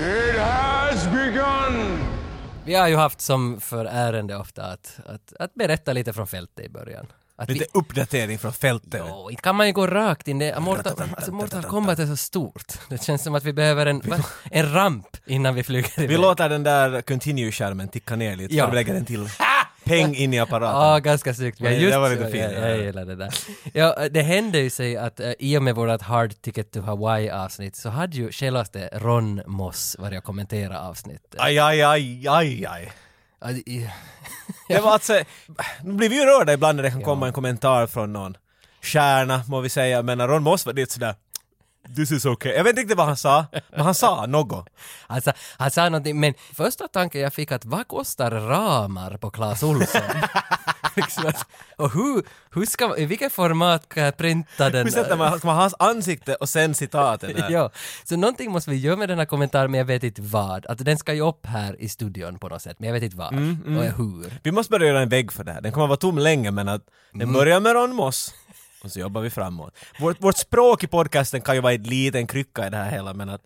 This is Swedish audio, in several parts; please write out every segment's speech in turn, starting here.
It has begun! Vi har ju haft som för ärende ofta att, att, att berätta lite från fältet i början. Att vi, Lite uppdatering från fältet. Jo, inte kan man ju gå rakt in. Det, Mortal, alltså Mortal Kombat är så stort. Det känns som att vi behöver en, va, en ramp innan vi flyger Vi iväg. låter den där continue-skärmen ticka ner lite, Ja. så vi lägger den till. Peng in i apparaten. Ja, ganska snyggt. Vi har Men just- det var lite fint, Jag, ja. jag gillar det där. Ja, det hände ju sig att eh, i och med vårt Hard Ticket to Hawaii-avsnitt så hade ju självaste Ron Moss varit och kommenterat avsnittet. Aj, aj, aj, aj, aj. Ja, det- i- Det var alltså, nu blir vi ju rörda ibland när det kan komma en kommentar från någon stjärna, må vi säga, men när Ron Moss var dit sådär This is okay. Jag vet inte riktigt vad han sa, men han sa något. Han sa, Alltså, han sa någonting, men första tanken jag fick att vad kostar ramar på Clas Ohlson? liksom, att- och hur, hur ska man, i vilket format kan jag printa den? Hur sätter man, ska man ha hans ansikte och sen citatet där? ja, så någonting måste vi göra med den här kommentaren, men jag vet inte vad. Att den ska ju upp här i studion på något sätt, men jag vet inte vad Mm, och hur. Vi måste börja göra en vägg för det här. Den kommer att vara tom länge men att den Mm. börjar med Ron Moss och så jobbar vi framåt. Vårt, vårt språk i podcasten kan ju vara en liten krycka i det här hela men att...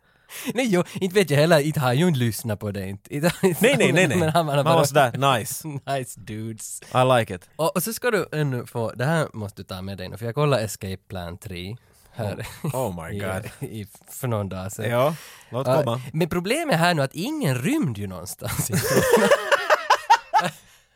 Nej, jo, inte vet jag heller, inte har ju inte lyssnat på det inte. Inte- inte- Nej, nej, nej, nej. Men han, han har Man bara... var sådär nice. Nice dudes. I like it. Och, och så ska du ännu få, det här måste du ta med dig nu, för jag kollar Escape Plan 3 här. Oh my god. i, i, för någon dag sedan. Ja, låt Ja, komma. men problemet här nu är att ingen rymde ju någonstans.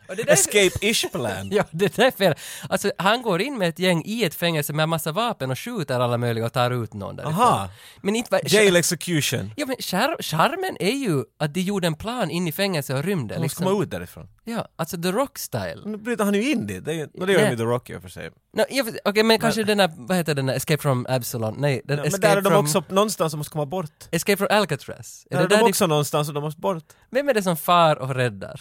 och det där, Escape-ish plan. ja, det där är fel. Alltså, han går in med ett gäng i ett fängelse med massa vapen och skjuter alla möjliga och tar ut någon därifrån. Aha. Men inte var... Jail execution. Ja, men char- charmen är ju att de gjorde en plan in i fängelse och rymde. Han måste Liksom. komma ut därifrån. Ja, alltså The Rock-style. Nu bryter han ju in dit. Det, är ju- no, det gör Nej. han ju The Rock i och för sig. No, ja, Okej, men kanske den där, vad heter den där, Escape from Absalon? Nej, den, Ja, men Escape, där är de from, också någonstans som måste komma bort. Escape from Alcatraz. Är Där det är där de de- också någonstans och de måste bort. Vem är det som far och räddar?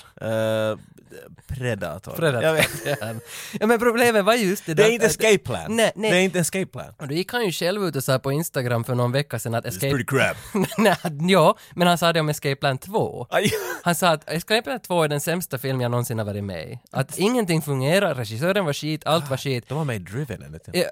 Eh, predator. Fredag. Jag vet. ja men problemet var just det Det där är inte att- escape plan. Nej, nej. Det är inte escape plan. Och då gick han ju själv ut och sa på Instagram för någon vecka sedan att Escape... crap. Nej, ja, men han sa det om Escape Plan 2. Aj. Han sa att Escape Plan 2 är den sämsta film jag någonsin har varit med i. Att Mm. ingenting fungerar, regissören var skit, allt var skit. De har mig driven ännu till.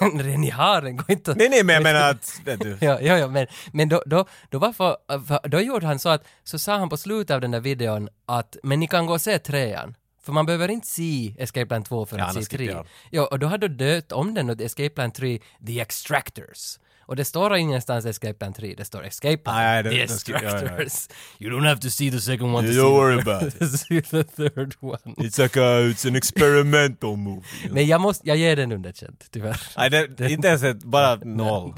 Ja, Ni har den, gå inte och- Nej, nej, men jag menar att... vet du. Ja, ja, ja men, men då, då, då, var för, för, då gjorde han så att, så sa han på slutet av den där videon att, men ni kan gå och se trean. För man behöver inte se Escape Plan 2 för Ja, att se annars skippar trean. jag. Ja, och då hade du döpt om den och Escape Plan 3, The Extractors. Och det står ingenstans Escape Plan 3, det står Escape Plan, Nej, det- The det ska- ja, ja, ja. Extractors. You don't have to see the second one to You don't worry about see, to see the third one. It's like a, it's an experimental movie. Men jag måste, jag ger den underkänt, tyvärr. Nej, det, inte ens ett, bara noll.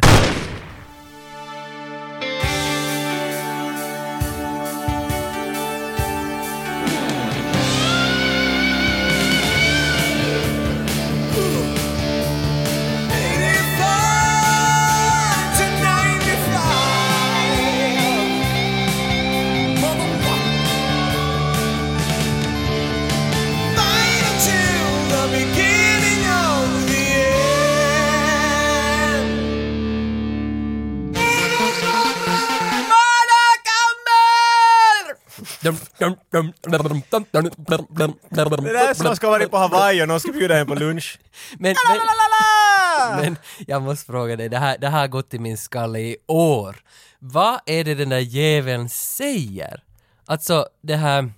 Det där är som ska vara på Hawaii och någon ska bjuda hem på lunch. Men, men, men jag måste fråga dig, det här, det här har gått i min skalle i år. Vad är det den där jäveln säger? Alltså det här...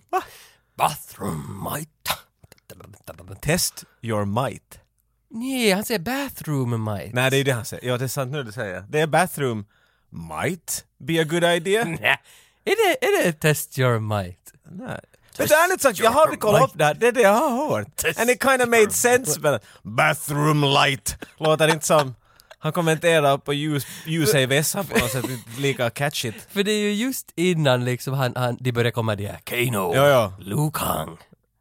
Bathroom might. Test your might. Nej, han säger bathroom might. Nej, det är ju det han säger. Ja, det är sant nu du säger. Det är bathroom might be a good idea. Nä. Är det, är det test your might? Nej. Men det är ärligt sagt, jag har kollat upp det här. Det är det jag har hört. And it kind of made sense. Men bathroom light låter inte som... Han kommenterar på ljus, ljus i vässan på något sätt, inte lika catchigt. För det är ju just innan liksom han, han, de börjar komma de här Kano, Ja, ja. Lukang.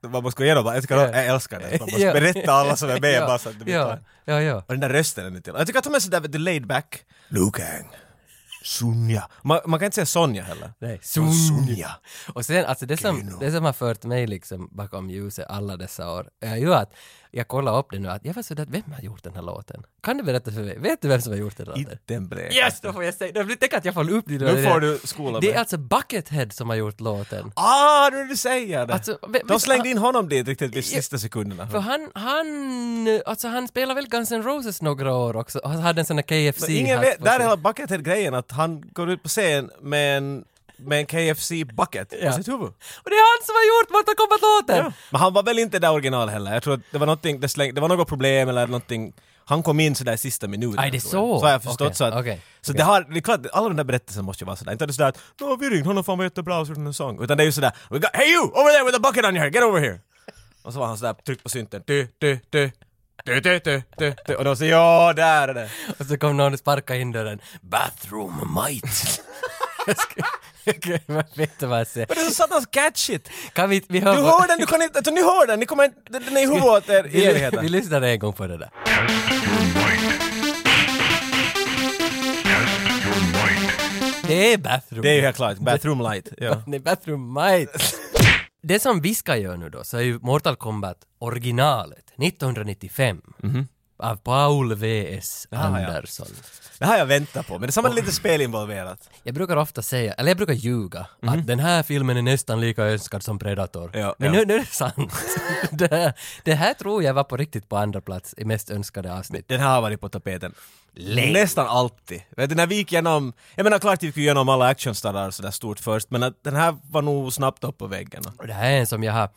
Man måste gå igenom bara, jag, tycker, jag älskar det. Man måste Ja. berätta alla som är med bara så att det blir ja, klart. ja, ja. Och den där rösten är till. Jag tycker att de är sådär vet du, laid back. Lukang. Sonja. Man, man kan inte säga Sonja heller. Nej, Sonja. Och sen, alltså det som, det som har fört mig liksom bakom ljuset alla dessa år är ju att jag kollar upp det nu att jag var sådär, vem har gjort den här låten? Kan du berätta för mig? Vet du vem som har gjort den här låten? Inte en blek. Yes! Då får jag säga, då blir- tänk att jag får upp det. Nu får du skola Det mig. är alltså Buckethead som har gjort låten. Ah, nu du säger det! Alltså, men- men- de slängde in honom dit riktigt vid sista sekunderna. För han, han, alltså han spelade väl Guns N' Roses några år också och han hade en sån där KFC Men ingen hatt vet, på där är sig. hela Buckethead-grejen att han går ut på scen med en med en KFC-bucket Ja. på sitt huvud. Och det är han som har gjort Mortal Kombat-låten! Ja. Men han var väl inte där original heller? Jag tror att det var någonting, det, släng, det var något problem eller någonting. Han kom in sådär i sista minuten. Aj, det är tror jag. så? Så har jag förstått. Okej, så att, okej, så okej. det har, det är klart, alla de där berättelserna måste ju vara sådär. Inte det sådär att no, vi ringde honom, fan var jättebra, och så gjorde han en sång. Utan det är ju sådär We got, Hey you! Over there with a bucket on your head, get over here! Och så var han sådär, tryckt på synten. Du, du, du. Du, du, du, du, du. Och de säger ja, där är det. Och så kom någon och sparkade in dörren. Bathroom might! Jag skulle- jag kunde- jag vet inte vad jag säger. Men det är så satans catchigt! Kan vi, vi Du hör hör den, du kan inte, alltså, ni hör den, ni kommer inte, den den är i huvudet åt er i vi, evigheten. vi lyssnar en gång på det där. Det är bathroom. Det är ju helt klart, bathroom light. Ja. Nej, bathroom might. Det som vi ska göra nu då, så är ju Mortal Kombat originalet, 1995. Mhm. Av Paul V.S. Ah, Andersson. Det här har jag väntat på, men det är samma lite spel involverat. Jag brukar ofta säga, eller jag brukar ljuga, att den här filmen är nästan lika önskad som Predator. Mhm. Ja, Men ja. Nu, nu är det sant. det, här, det här tror jag var på riktigt på andra plats i mest önskade avsnitt. Den här har varit på tapeten. Länge. Nästan alltid. Vet du, när vi gick igenom, jag menar klart vi gick igenom alla actionstadar sådär stort först, men att den här var nog snabbt upp på väggen. Och det här är en som jag har,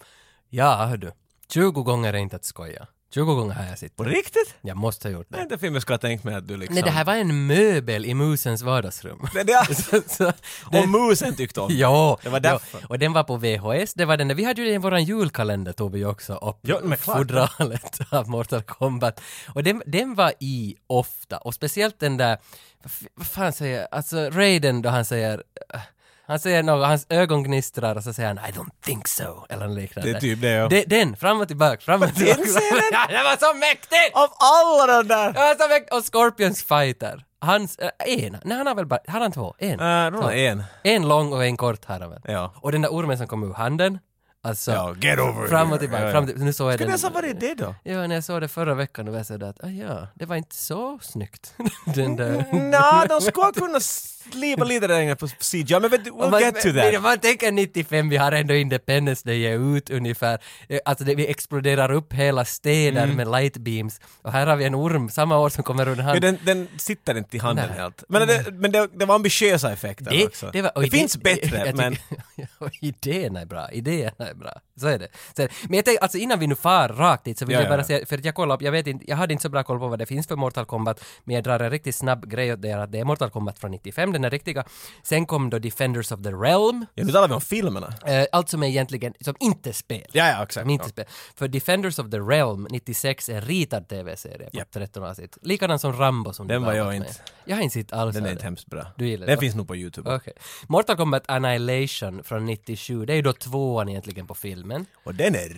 ja hör du, 20 gånger är inte att skoja. 20 gånger har jag sett På den. riktigt? Jag måste ha gjort Det är det. inte film jag skulle ha tänkt mig att du liksom... Nej, det här var en möbel i musens vardagsrum. Men det är- så, så, Och musen tyckte om. Ja, Det var ja. därför. och den var på VHS, det var den där, vi hade ju den i våran julkalender tog vi också upp, Ja, men klart. fodralet av Mortal Kombat. Och den, den var i ofta, och speciellt den där, vad f- vad fan säger, jag? alltså Raiden då han säger, eh, han säger något, hans ögon gnistrar och så säger han I don't think so, eller något liknande. Det är typ det, ja. De, den, fram och tillbaka, fram och tillbaka. scenen? Ja, det var så mäktigt! Av alla de där! Det var så mäktigt! Och Scorpions fighter, hans, eh, en, nej han har väl bara, har han två? En? Äh, det Så. var en. En lång och en kort här väl? Ja. Och den där ormen som kom ur handen, alltså Ja, get over fram here. och tillbaka, Ja, ja. fram och tillbaka. Nu såg jag Skulle den. nästan varit det då? Ja, när jag såg det förra veckan då var jag sådär att, ah, ja, det var inte så snyggt. den där... Nja, de skulle kunna slipa lite längre på CGI, men vet du, Om we'll get to that. men Om man tänker 95, vi har ändå Independence Day är ut ungefär. Eh, Alltså det, vi exploderar upp hela städer Mm. med lightbeams. Och här har vi en orm samma år som kommer ur Ja, hand. den, den sitter inte i handen Nej. helt. Men, det, men det, det var ambitiösa effekter också. Det, var- och idé- finns bättre, jag men... tycker- och idén är bra, idén är bra. Så är det. Så är det. Men jag tänkte, alltså innan vi nu far rakt dit så vill Ja, jag bara ja. säga, för att jag kollade upp, jag vet inte, jag hade inte så bra koll på vad det finns för Mortal Kombat, men jag drar en riktigt snabb grej åt det här att det är Mortal Kombat från 95, den är riktiga. Sen kom då Defenders of the Realm, Ja, nu talar vi om filmerna. eh, allt som är egentligen, som inte är spel. Ja, ja, exakt. Som inte är spel. För Defenders of the Realm 96 är en ritad tv-serie på Japp. 13 avsnitt. Likadan som Rambo som du Den var jag pratade inte. med. Jag har inte sett alls Den av är det. inte hemskt bra. Du gillar den det, finns nog på YouTube. Okej. Mortal Kombat Annihilation från 97, det är ju då tvåan egentligen på filmen. Och den är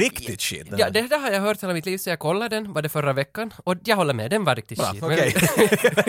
riktigt shit. den Ja, här. det där har jag hört hela mitt liv så jag kollade den, var det förra veckan? Och jag håller med, den var riktigt Bra, shit. Men- okej.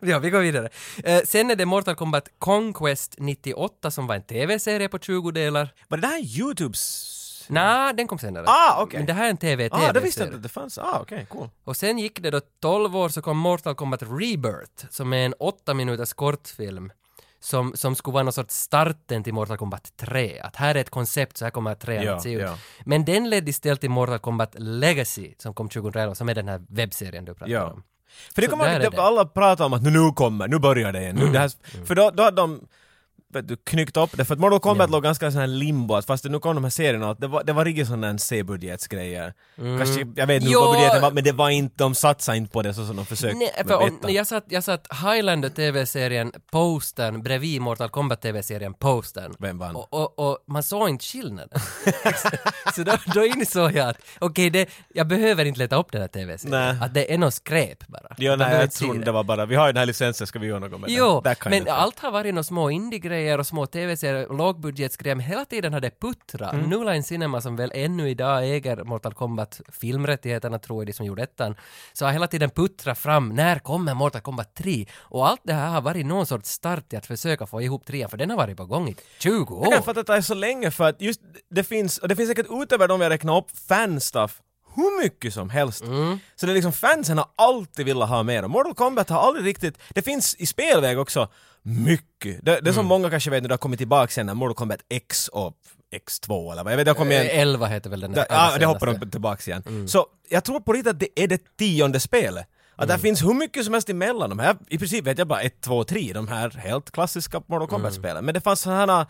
ja, vi går vidare. Eh, sen är det Mortal Kombat Conquest 98 som var en tv-serie på 20 delar. Var det här Youtubes... Nej, den kom senare. Ah, okej. Men det här är en tv Ah, det tv visste jag inte att det fanns. Ah, okej, cool. Och sen gick det då 12 år så kom Mortal Kombat Rebirth som är en 8 minuters kortfilm som, som skulle vara någon sorts starten till Mortal Kombat 3. Att här är ett koncept, så här kommer trean Ja, att se ut. ja. Men den ledde istället till Mortal Kombat Legacy som kom 2011 som är den här webbserien du pratade Ja. om. För det Så kommer där jag är ihåg att det. Mm. alla pratar om att nu, nu kommer, nu börjar det igen. Nu, det här, för då, då hade de vet du, knyckt upp det, för att Mortal Kombat låg ganska sån här limbo, att fast det nu kom de här serierna, att det var, det var riktigt sån där C-budgetsgrejer. Mm. Kanske, jag vet inte Jo. vad budgeten var, men det var inte, de satsade inte på det så som de försökte Nej, med för om, Beta. när jag, satt, jag satt Highlander TV-serien, postern, bredvid Mortal Kombat TV-serien, postern. Vem vann? Och, och, och man såg inte skillnaden. så då, då insåg jag att okej, det- jag behöver inte leta upp den här TV-serien. Nej. Att det är något skräp bara. Ja, Man nej, behöver jag inte se tror det. det var bara, vi har ju den här licensen, ska vi göra något med Jo, den? That kind men of thing. allt har varit några små indie-grejer och små tv-serier, lågbudgetsgrejer, men hela tiden har det puttrat. Mm. New Line Cinema som väl ännu idag äger Mortal Kombat filmrättigheterna tror jag, de som gjorde ettan, så har hela tiden puttrat fram när kommer Mortal Kombat 3? Och allt det här har varit någon sorts start i att försöka få ihop trean, för den har varit på gång i 20 år. Jag kan fatta att det är så länge för att just det finns, och det finns säkert utöver de jag räknade upp, fanstuff hur mycket som helst. Så det är liksom fansen har alltid velat ha mer och Mortal Kombat har aldrig riktigt, det finns i spelväg också mycket. Det, det som många kanske vet nu, det har kommit tillbaka sen när Mortal Kombat X och X2 eller vad, jag vet, det har kommit igen. 11 heter väl den Mm. Ja, allra ah, det hoppar senaste. de tillbaka igen. Så jag tror på riktigt att det är det tionde spelet. Att Mm. det finns hur mycket som helst emellan de här. I princip vet jag bara ett, två, tre, de här helt klassiska Mm. Mortal Kombat-spelen. Men det fanns sådana här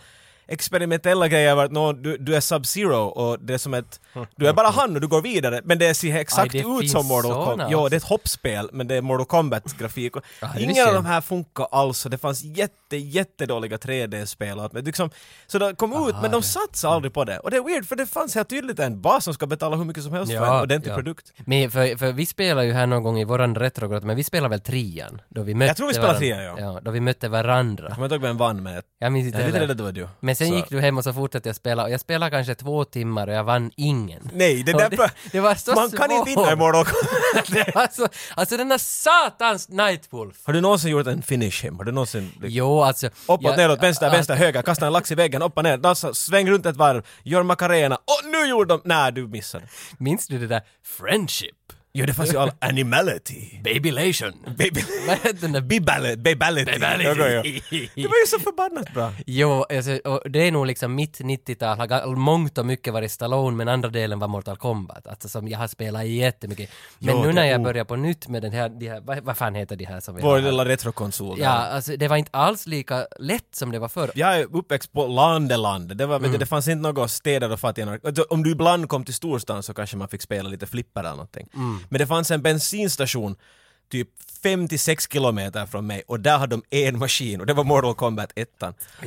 experimentella grejer vart nå, du, du är Sub-Zero och det är som ett... Du är bara han och du går vidare men det ser exakt Aj, det ut finns som Mortal såna Kombat. Ja, det är ett hoppspel men det är Mortal Kombat-grafik. Och Ja, det visste Ingen av jag. de här funkar alls och det fanns jätte, jättedåliga 3D-spel och allt. men liksom, Så det kom ut men de satsade aldrig på det. Och det är weird för det fanns helt tydligt en bas som ska betala hur mycket som helst för en ordentlig produkt. Men för, för vi spelar ju här någon gång i våran retrograd, men vi spelar väl trean? Då vi mötte tror vi spelar varann- trean, ja. ja. Då vi mötte varandra. Jag kommer inte ihåg vem vann men jag Jag minns inte jag är lite heller. rädd att det var du. Men sen Så- gick du hem och så fortsatte jag spela och jag spelade kanske två timmar och jag vann ingen. Nej, det Och där det, bör- det var så Man kan inte vinna i svårt. Mortal Kombat. alltså, alltså den där satans Nightwolf! Har du någonsin gjort en finish him? Har du någonsin... Liksom, Jo, alltså... uppåt, jag- neråt, vänster, alltså, vänster, höger, kasta en lax i väggen, upp och ner, dansa, sväng runt ett varv, gör macarena, och nu gjorde de... Nej, du missade. Minns du det där Friendship? Jo, det fanns ju all animality. Babylation? Baby... Vad hette den där Bibality. Bibality. Babality? Det var ju så förbannat bra. Jo, alltså, och det är nog liksom mitt 90-tal har ga- mångt och mycket varit Stallone men andra delen var Mortal Kombat, alltså som jag har spelat jättemycket. Men Jo, nu det- när jag oh. börjar på nytt med den här, de här vad, vad fan heter de här som vi Vår har? lilla retrokonsol. Ja, alltså det var inte alls lika lätt som det var förr. Jag är uppväxt på landeland. Det, var, vet du, det fanns inte några städer och fattiga. några- Alltså, Om du ibland kom till storstan så kanske man fick spela lite flipper eller någonting. Men det fanns en bensinstation typ 56 kilometer från mig och där hade de en maskin och det var Mortal Kombat 1.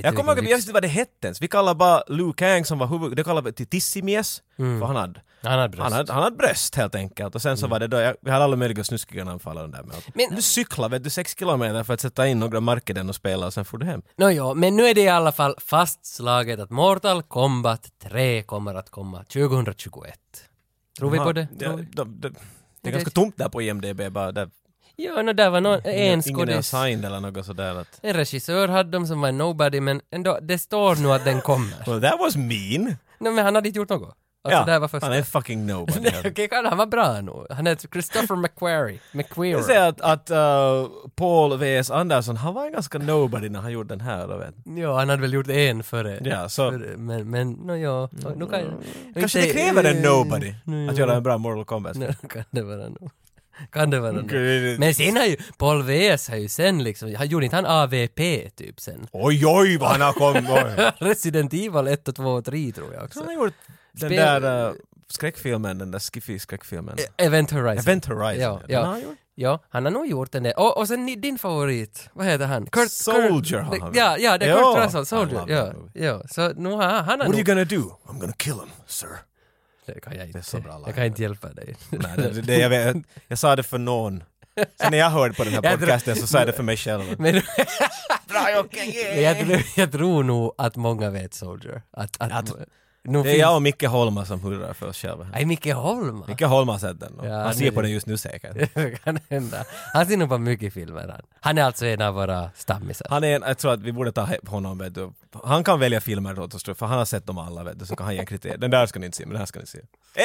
Jag kommer ihåg, vilken jag lyx. visste inte vad det hette ens. Vi kallade bara Liu Kang som var huvud... Det kallade vi till Tissimies, för han hade, Han hade bröst. Mm. han, hade, han hade bröst helt enkelt. Och sen så var det då, jag, vi hade alla möjliga snuskiga namn för alla de där. Men, Men- du cyklar vet du 6 kilometer för att sätta in några marker i den och spela och sen får du hem. Nåjo, men nu är det i alla fall fastslaget att Mortal Kombat 3 kommer att komma 2021. Tror vi på det? Ja, Tror vi? de- de- det är vet ganska inte. tomt där på IMDB bara. Där, Ja, no, där var någon, en ingen är skådis. signed eller något sådär. Att, En regissör hade de som var en nobody, men ändå, det står nu att den kommer. well, that was mean! Nej, men han hade inte gjort något. Alltså det här var första. Han är fucking nobody. Nej, Okej, kolla, han var bra nog. Han heter Christopher McQuarrie. Jag McQuarrie. säger att, att uh, Paul V.S. Anderson, han var en ganska nobody när han gjorde den här. då Vet. Ja, han hade väl gjort en före. Ja, så- före, Men, men, no, ja. Nu kan, Kanske det inte- kräver en nobody Mm, att ja. göra en bra Mortal Kombat. Nej, kan det vara nog. Kan det vara nog. Gud. Men sen har ju Paul V.S. har ju sen liksom, han gjorde inte han AVP typ sen? Oj, oj, vad han har kommit! oj. Resident Evil 1 och 2 och 3 tror jag Så också. Han har gjort den Spel- där uh, skräckfilmen, den där skiffy-skräckfilmen. E- Event Horizon. Event Horizon. Ja, den har ja. han gjort. ja, han har nog gjort den där. Och, och sen ni- din favorit, vad heter han? Kurt... Soldier har Kurt, han. Ja, ja, det är Ja, Kurt Russell, I Soldier. love Ja, that movie. ja. Så nu har han... han har What are you nog... gonna do? I'm gonna kill him, sir. Det kan jag inte. är så bra jag line. kan inte hjälpa dig. Nej, det, det, jag, vet, jag sa det för någon. Sen när jag hörde på den här Jag tror- podcasten så sa jag det för mig själv. Men... Men jag, tror- jag tror nog att många vet Soldier. Att, att, Att- nu Det är jag och Micke Holma som hurrar för oss själva. här. Nej, Micke Holma. Micke Holma har sett den och Ja, han han ser är på ju- den just nu säkert. kan hända. Han ser nog på mycket filmer han. Han är alltså en av våra stammisar. Han är en, jag tror att vi borde ta he- honom vet du. Han kan välja filmer åt oss tror jag, för han har sett dem alla vet du, så kan han ge en kriterier. Den där ska ni inte se, men den här ska ni se.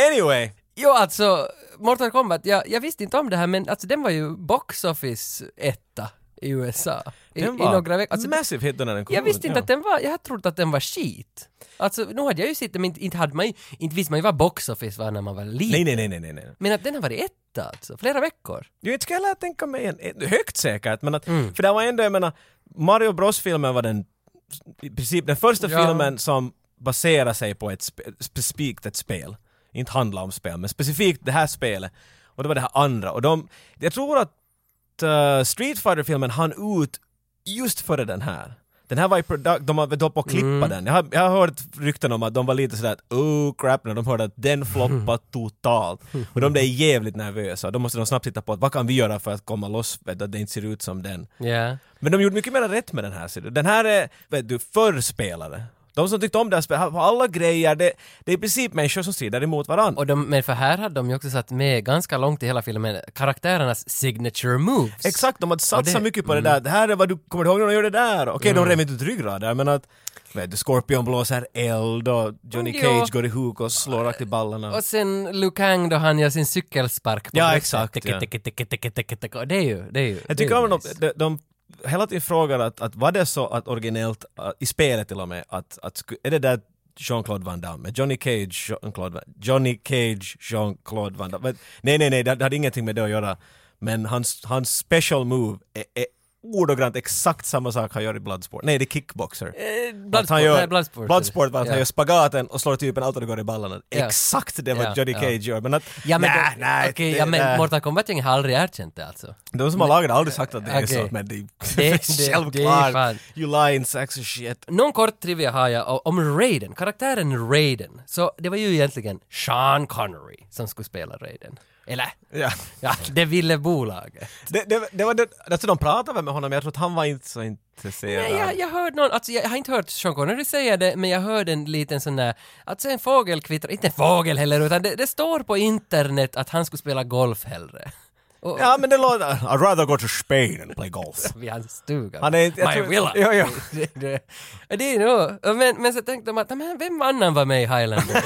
Anyway! Jo alltså, Mortal Kombat, jag, jag visste inte om det här men alltså den var ju box office etta i USA. I, Den i var några veckor. Alltså, massive hit när den kom jag ut, visste inte ja. att den var, jag hade trott att den var skit. Alltså nu hade jag ju sett den men inte, inte hade man ju, inte visste man ju vad box office var när man var liten. Nej, nej, nej, nej, nej, nej. Men att den har varit etta alltså, flera veckor. Jo, inte skulle jag tänka mig en, en, högt säkert, men att, för det var ändå, jag menar, Mario Bros-filmen var den, i princip den första Ja. filmen som baserar sig på ett spe, specifikt ett spel. Inte handlar om spel, men specifikt det här spelet. Och det var det här andra. Och de, jag tror att uh, Street Fighter-filmen hann ut just före den här. Den här var i product, de var väl på att klippa den. Jag har, jag har hört rykten om att de var lite sådär att oh crap när de hörde att den floppade totalt. Och de blev jävligt nervösa. Då måste de snabbt titta på att vad kan vi göra för att komma loss, vet du, att det inte ser ut som den. Ja. Men de gjorde mycket mer rätt med den här. ser du. Den här är, vet du, förspelare. De som tyckte om det här spelet, har alla grejer, det, det är i princip människor som strider emot varandra. Och de, men för här hade de ju också satt med ganska långt i hela filmen karaktärernas signature moves. Exakt, de hade satsat det- mm. mycket på det där. Det här är vad du kommer du ihåg när de gjorde det där? Okej, de rev inte ut ryggrader, men att vet du, Scorpion blåser eld och Johnny Mm, Cage ja. går i huk och slår rakt i ballarna. Och sen Liu Kang då han gör sin cykelspark på Ja, bröstet. exakt, Ticke, ja. ticke, ticke, ticke, ticke, ticke. Och Det är ju, det är ju. Jag det är tycker ju om att nice. de, de, de hela tiden frågar att, att var det så att originellt, äh, i spelet till och med, att, att sku- är det där Jean-Claude Van Damme, Johnny Cage, Jean-Claude Van, Johnny Cage, Jean-Claude Van Damme. Men, nej, nej, nej, det, det hade ingenting med det att göra. Men hans, hans special move är, är ordagrant exakt samma sak han gör i Bloodsport. Nej, det är kickboxer. Eh, Att han Bloodsport, gör, nej, Bloodsport. var att Ja. han gör spagaten och slår typen allt och det går i ballarna. Ja. Exakt det vad Ja, Johnny ja. Cage gör. Men att, Ja men, nej, då, nej. okej, det- ja, men nej. Mortal Kombat-gänget har aldrig erkänt det alltså. De som har lagat det har aldrig sagt att det är Okej. så, men det, det är är självklart. fan. You lying sacks of shit. Någon kort trivia har jag o- om Raiden, karaktären Raiden. Så det var ju egentligen Sean Connery som skulle spela Raiden. Eller? Ja. Ja, det ville bolaget. Det, det, det var det, alltså de pratade väl med honom, men jag tror att han var inte så intresserad. Nej, jag, jag hörde någon, alltså jag har inte hört Sean Connery säga det, men jag hörde en liten sån där, alltså en fågel kvittrar, inte en fågel heller, utan det, det står på internet att han skulle spela golf hellre. Och, Ja, men det låter... I'd rather go to Spain and play golf. vid hans stuga. Han är inte- jag My tror- villa. Ja, ja. det, det, det är nog, men, men så tänkte de att, men vem annan var med i Highlander?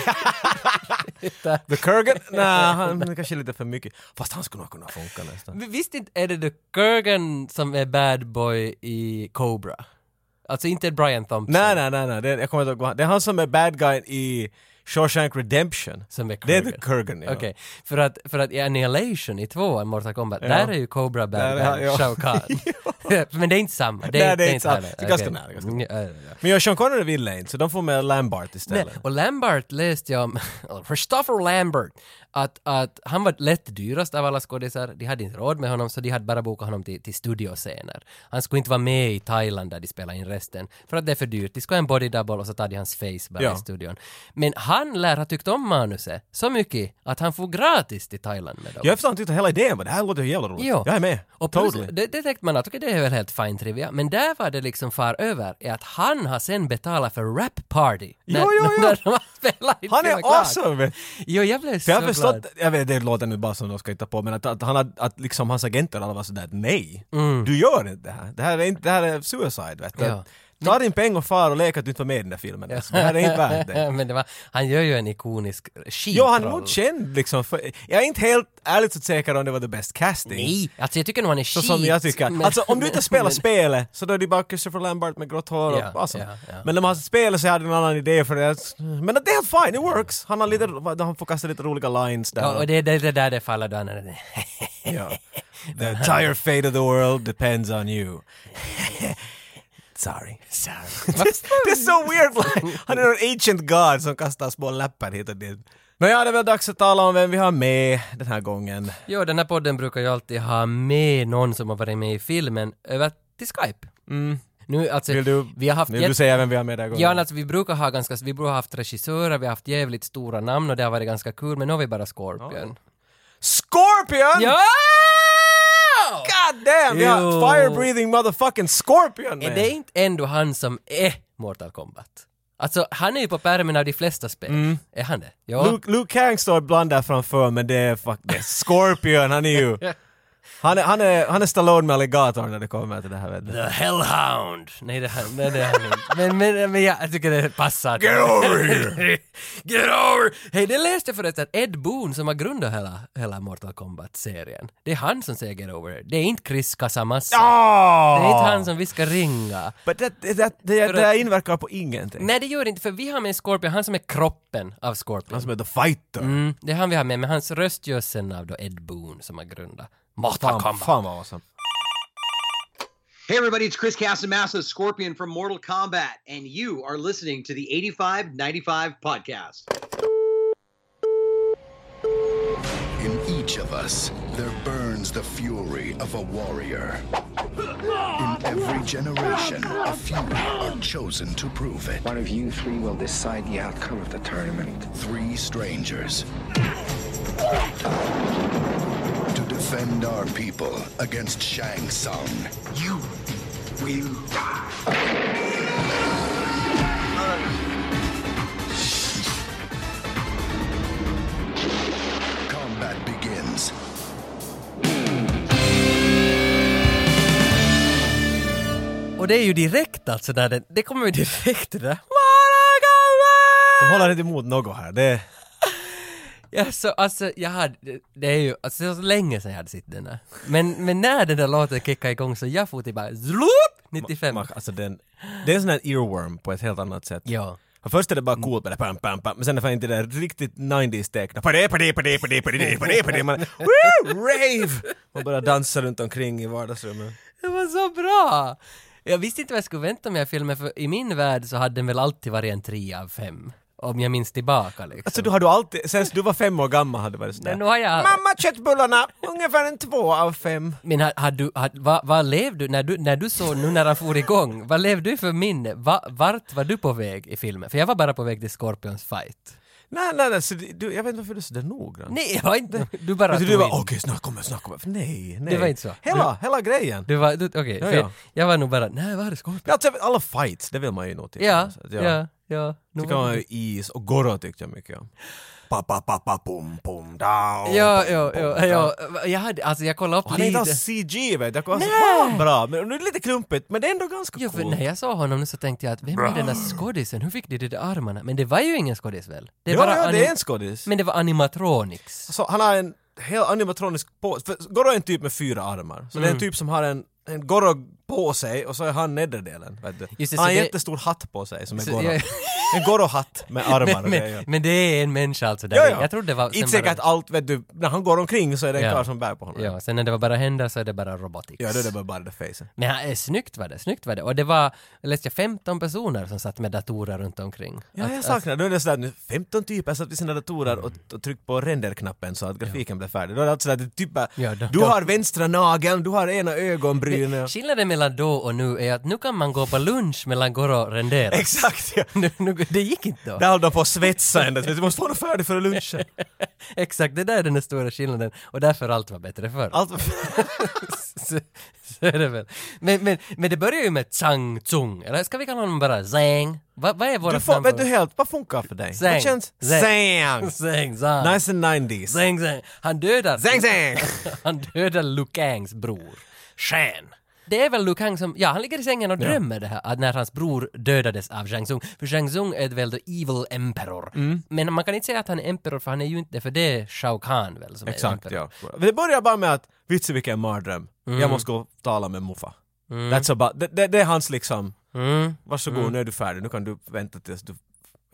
The Kurgan? Nej, han är kanske lite för mycket. Fast han skulle nog kunna funka nästan. Vi- Visst inte är det The Kurgan som är bad boy i Cobra? Alltså inte Brian Thompson. Nej, nej, nej, nej. Det, jag kommer inte ihåg. vad han- Det är han som är bad guy i Shawshank Redemption. Som är Det är Kurgan. The Kurgan, ja. Okej, för, att, för att i Annihilation i tvåan, Mortal Kombat, där är ju Cobra Där bad är han, guy, ja. Shao Kahn. Men det är inte samma. Nej, det är inte samma. heller. Det är ganska Okej. nära, ganska Ja, ja, ja. Men jag och Sean Connery ville inte, så de får med Lambart istället. Nej, och Lambert läste jag om, Christopher Lambert, att, att han var lätt dyrast av alla skådisar, de hade inte råd med honom så de hade bara bokat honom till, till studioscener. Han skulle inte vara med i Thailand där de spelade in resten, för att det är för dyrt. De skulle ha en body double och så tar de hans face bara Ja. i studion. Men han lär ha tyckt om manuset så mycket att han får gratis till Thailand med dem. Jag förstår inte riktigt hela idén, men det här låter ju jävla roligt. Jo. Jag är med. Och plus, totally. det, det tänkte man att okej, det är väl helt fine trivia, men där var det liksom far över är att han har sen betalat för rap party. När, Jo, jo, jo. när de har spelat in Han till är och klart. awesome! vet du. Jo, jag blev så För jag har glad. förstått, jag vet det låter nu bara som de ska hitta på, men att, att, han, hade- att liksom hans agenter alla var sådär nej, du gör inte det här. Det här är, inte, det här är suicide vet du. Mm. Ja. Ta din peng och far och lek att du inte var med i den där filmen. Alltså, det här är inte värt det. Men det var, han gör ju en ikonisk skitroll. Ja, han är nog känd liksom. För, jag är inte helt ärligt så säker om det var the best casting. Nej, alltså jag tycker nog han är Så skit. som jag tycker. men- alltså om du inte spelar men- spelet så då är det bara Christopher Lambert med grått hår och Ja, awesome. ja, ja. Men när man spelar så hade vi en annan idé för det. Men att det är helt fine, it works. Han, har lite, han får kasta lite roliga lines där. Ja, och det är det, det där det faller då. han- Ja. The entire fate of the world depends on you. Sorry. Sorry. det är så weird! Like, han är en ancient god som kastar små lappar hit och dit. Nåja, det är väl dags att tala om vem vi har med den här gången. Jo, den här podden brukar ju alltid ha med någon som har varit med i filmen över till Skype. Nu, alltså, Mm. Vill du, vi har haft vill jätte- du säga vem vi har med den här gången? Ja, alltså, vi brukar ha ganska, vi brukar ha haft regissörer, vi har haft jävligt stora namn och det har varit ganska kul, men nu har vi bara Scorpion. Scorpion! Ja! God damn! Vi har Jo. fire-breathing motherfucking Scorpion Är med! det inte ändå han som är Mortal Kombat? Alltså, han är ju på pärmen av de flesta spel. Är han det? Ja. Mm. Luke, Luke Kang står ibland där framför men det är fuck det är Scorpion, han är ju... Han är, han, är, han är Stallone med alligator när det kommer till det här vet du. The Hellhound! Nej, det, han, nej, det är han inte. Men, men, men jag tycker det passar. Get over here! Get over! Hej, det läste jag förresten. Ed Boon som har grundat hela, hela Mortal Kombat-serien. Det är han som säger Get over here. Det är inte Chris Casamassa. Det är inte han som vi ska ringa. Ah! But that, that, that, det, det där inverkar på ingenting. Nej, det gör det inte, för vi har med en Scorpion, han som är kroppen av Scorpion. Han som är the fighter. Mm, det är han vi har med, men hans röst görs sen av då Ed Boon som har grundat Mortal Fan, Kombat. fan vad awesome. Hey, everybody, it's Chris Casamassa, Scorpion from Mortal Kombat, and you are listening to the 8595 podcast. In each of us, there burns the fury of a warrior. In every generation, a few are chosen to prove it. One of you three will decide the outcome of the tournament. Three strangers to defend our people against Shang Tsung. You will die. Combat begins. Och det är ju direkt alltså, där det, det kommer ju direkt det där Mortal Kombat! De håller inte emot något här. Det, Ja, så, alltså, jag hade, det är ju alltså, det var så länge sedan jag hade sett den där. Men, men när den där låten kickade igång så jag får till bara ZLOOP! 95. man, alltså den, det är en sån här earworm på ett helt annat sätt. Ja. Och först är det bara coolt med det pam, pam, pam. Men sen är fan inte det riktigt 90s-tecknat. Padé, padé, padé, padé, padé, padé, padé. Man, woo, rave! Man bara dansar runt omkring i vardagsrummet. Det var så bra! Jag visste inte vad jag skulle vänta mig av filmen, för i min värld så hade den väl alltid varit en 3 av 5. Om jag minns tillbaka liksom. Alltså du har du alltid, sen du var fem år gammal hade du varit sådär. Men nu har jag- Mamma köttbullarna, ungefär en två av fem. Men har, har du, har, vad, vad levde du, när du, när du såg nu när han for igång, vad levde du för minne? Va, vart var du på väg i filmen? För jag var bara på väg till Scorpions fight. Nej, nej, nej, så det- du, jag vet inte varför du är sådär noggrann. Nej, jag var inte, du bara Men tog Alltså, du var in. okej, snart kommer, snart kommer. Nej, nej. Det var inte så. Hela, hela grejen. Du var, du, okej, Ja, för ja. jag- jag var nog bara, nej var är Scorpions? Ja, alltså, alla fights, det vill man ju nog titta Ja, på, så ja, att ja. nu Tycker var- man ju is och Goro tyckte jag mycket om. Pa, pa, pa, pa, pum, pum, da, Ja, pum, ja, pum, ja, da. ja, jag hade, alltså jag kollade upp Han är inte lite. alls CG vet du. Han var så bra, men nu är det lite klumpigt, men det är ändå ganska Jo, för coolt. när jag såg honom nu så tänkte jag att vem är den där skådisen? Hur fick de de där armarna? Men det var ju ingen skådis väl? Det Ja, ja, det anim- är en skådis. Men det var animatronics. Så han har en hel animatronisk påse. För Goro är en typ med fyra armar. Så det är Mm. en typ som har en, en Goro på sig och så är han nederdelen. Vet du. Just det, han har så en det- jättestor hatt på sig som är Så- Goro. ja. En Goro-hatt med armar och Men, grejer. men, men det är en människa alltså där Ja, inne. ja. Jag trodde det var... sen Inte säkert bara- allt, vet du, när han går omkring så är det en Ja. karl som bär på honom. Ja, Ja, sen när det var bara händer så är det bara robotics. då är det bara bara det facen. Men han- eh, snyggt var det, snyggt var det. Och det var, jag läste jag, 15 personer som satt med datorer runt omkring. Ja, Att- jag saknar, då är det sådär nu, 15 typer satt vid sina datorer och, och tryckt på renderknappen så att grafiken blev färdig. Då är det alltså sådär, det är typ bara, Ja, då- du då- har vänstra nageln, du har ena ögonbrynet. Skillnaden mellan då och nu är att nu kan man gå på lunch mellan går och rendera. Exakt ja! nu, nu, det gick inte då. Där höll de på att svetsa ända tills du måste få den färdig före lunchen. Exakt, det där är den stora skillnaden och därför allt var bättre förr. Allt var så, så är det väl. Men, men, men det börjar ju med Chang Tsung, eller ska vi kalla honom bara Zhang? Va, vad är du vårat får, namn? vet på- du helt, vad funkar för dig? Zang. Vad känns... Zang. Zang! Zhang, Zhang. Nice and 90s. Zhang, Zhang. Han dödar... Zang Zang! Han dödar Liu Kangs bror. Shan. Det är väl Liu Kang som, ja han ligger i sängen och drömmer det här, att när hans bror dödades av Shang Tsung. För Shang Tsung är väl the evil emperor. Mm. Men man kan inte säga att han är emperor för han är ju inte, för det är Shao Kahn väl som är Exakt emperor. ja. Men det börjar bara med att, vitsen vilken mardröm. Mm. Jag måste gå och tala med Muffa. That's about, det, det, det är hans liksom, Mm. varsågod nu är du färdig, nu kan du vänta tills du,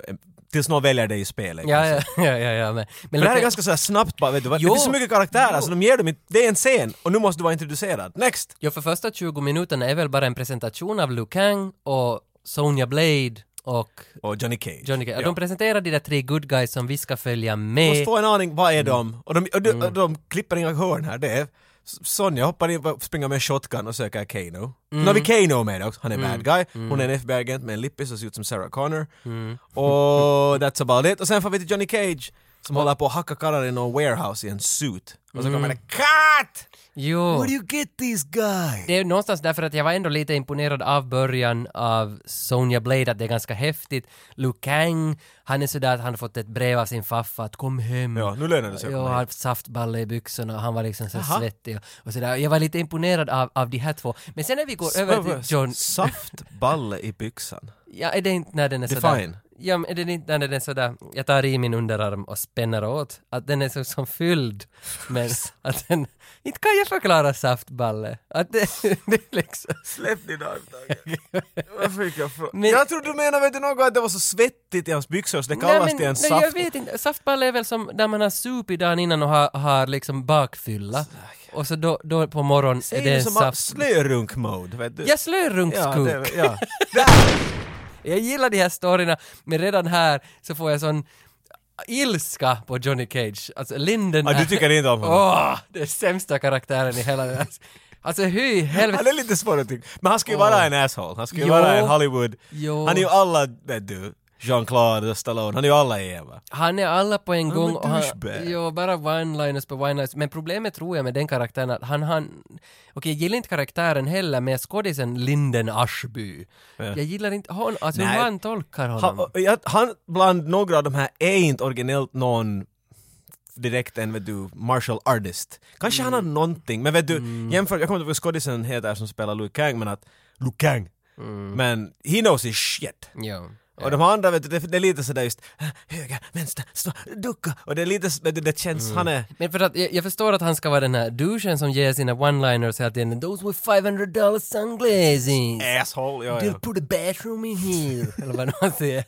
eh, tills någon väljer dig i spelet. Ja, kanske. ja, ja, ja, ja, men... men Men det här är Liu Kang- ganska så här snabbt bara, vet du, vad? det Jo. finns så mycket karaktärer så de ger dem inte, det är en scen och nu måste du vara introducerad. Next! Ja, för första 20 minuterna är väl bara en presentation av Liu Kang och Sonya Blade och Och Johnny Cage. Johnny Cage. Ja. De presenterar de där tre good guys som vi ska följa måste med. få en aning, vad mm. är de? Och de, och de, och de klipper inga hörn här, det är Sonja hoppar in, och springer med en shotgun och söker Kano. Nu har vi Mm. Kano med också, han är bad guy. Hon är en FBI-agent med en lippis och ser ut som Sarah Connor. Mm. Och that's about it. Och sen får vi till Johnny Cage som håller på att hacka karlar i någon warehouse i en suit. Och så kommer Mm. det CUT! Jo. Where do you get these guys? Det är någonstans därför att jag var ändå lite imponerad av början av Sonya Blade, att det är ganska häftigt. Liu Kang, han är sådär att han har fått ett brev av sin faffa att kom hem. Ja, nu lönar det sig att Ja, komma han hit. hade saftballe i byxorna och han var liksom så svettig och, och sådär. Jag var lite imponerad av, av de här två. Men sen när vi går över till John... Saftballe i byxan. Ja, är det inte när den är Define. sådär... Ja, men är det inte när den är sådär, jag tar i min underarm och spänner åt, att den är så, som fylld, men att den... Inte kan jag förklara saftballe. Att det, det är liksom... Släpp din arm Tage. Varför gick jag från? Men- jag trodde du menade vet du, något att det var så svettigt i hans byxor så det kallas till en nej, jag saft. vet inte. Saftballe är väl som där man har supit dagen innan och har, har liksom bakfylla. Och så då, då på morgonen är Säger det du en som har saft... slörunk-mode vet du? Jag slörunkskuk. det, ja. Jag gillar de här storyna, men redan här så får jag sån ilska på Johnny Cage. Alltså Linden Ja, Ah, du tycker inte om honom. Åh, det är sämsta karaktären i hela den här- Alltså hur i helvete... Han är lite svår att tycka. Men han ska ju vara en asshole. Han ska ju Jo. vara en Hollywood. Jo. Han är ju alla, vet du, Jean-Claude och Stallone. Han är ju alla i Eva. Han är alla på en är gång. och Han, douchebag. jo, bara one-liners på one-liners. Men problemet tror jag med den karaktären att han, han... Okej, jag gillar inte karaktären heller, men skådisen Linden Aschby. Jag gillar inte hon, alltså hur Nej. han tolkar honom. Han, och jag- han bland några av de här är inte originellt någon direkt en vet du, martial artist. Kanske han Mm. har någonting, men vet du, jämför, jag kommer inte ihåg vad skådisen heter som spelar Liu Kang, men att Liu Kang, Mm. men he knows his shit. Jo. Och de andra, vet du, det, det är lite sådär just äh, höger, vänster, stå, ducka. Och det är lite, vet du, det känns, Mm. han är... Men för att jag, jag förstår att han ska vara den här douchen som ger sina one-liners hela tiden. Those were 500 dollar sunglasses. Asshole, ja, They'll ja. put a bathroom in here. Eller vad man säger.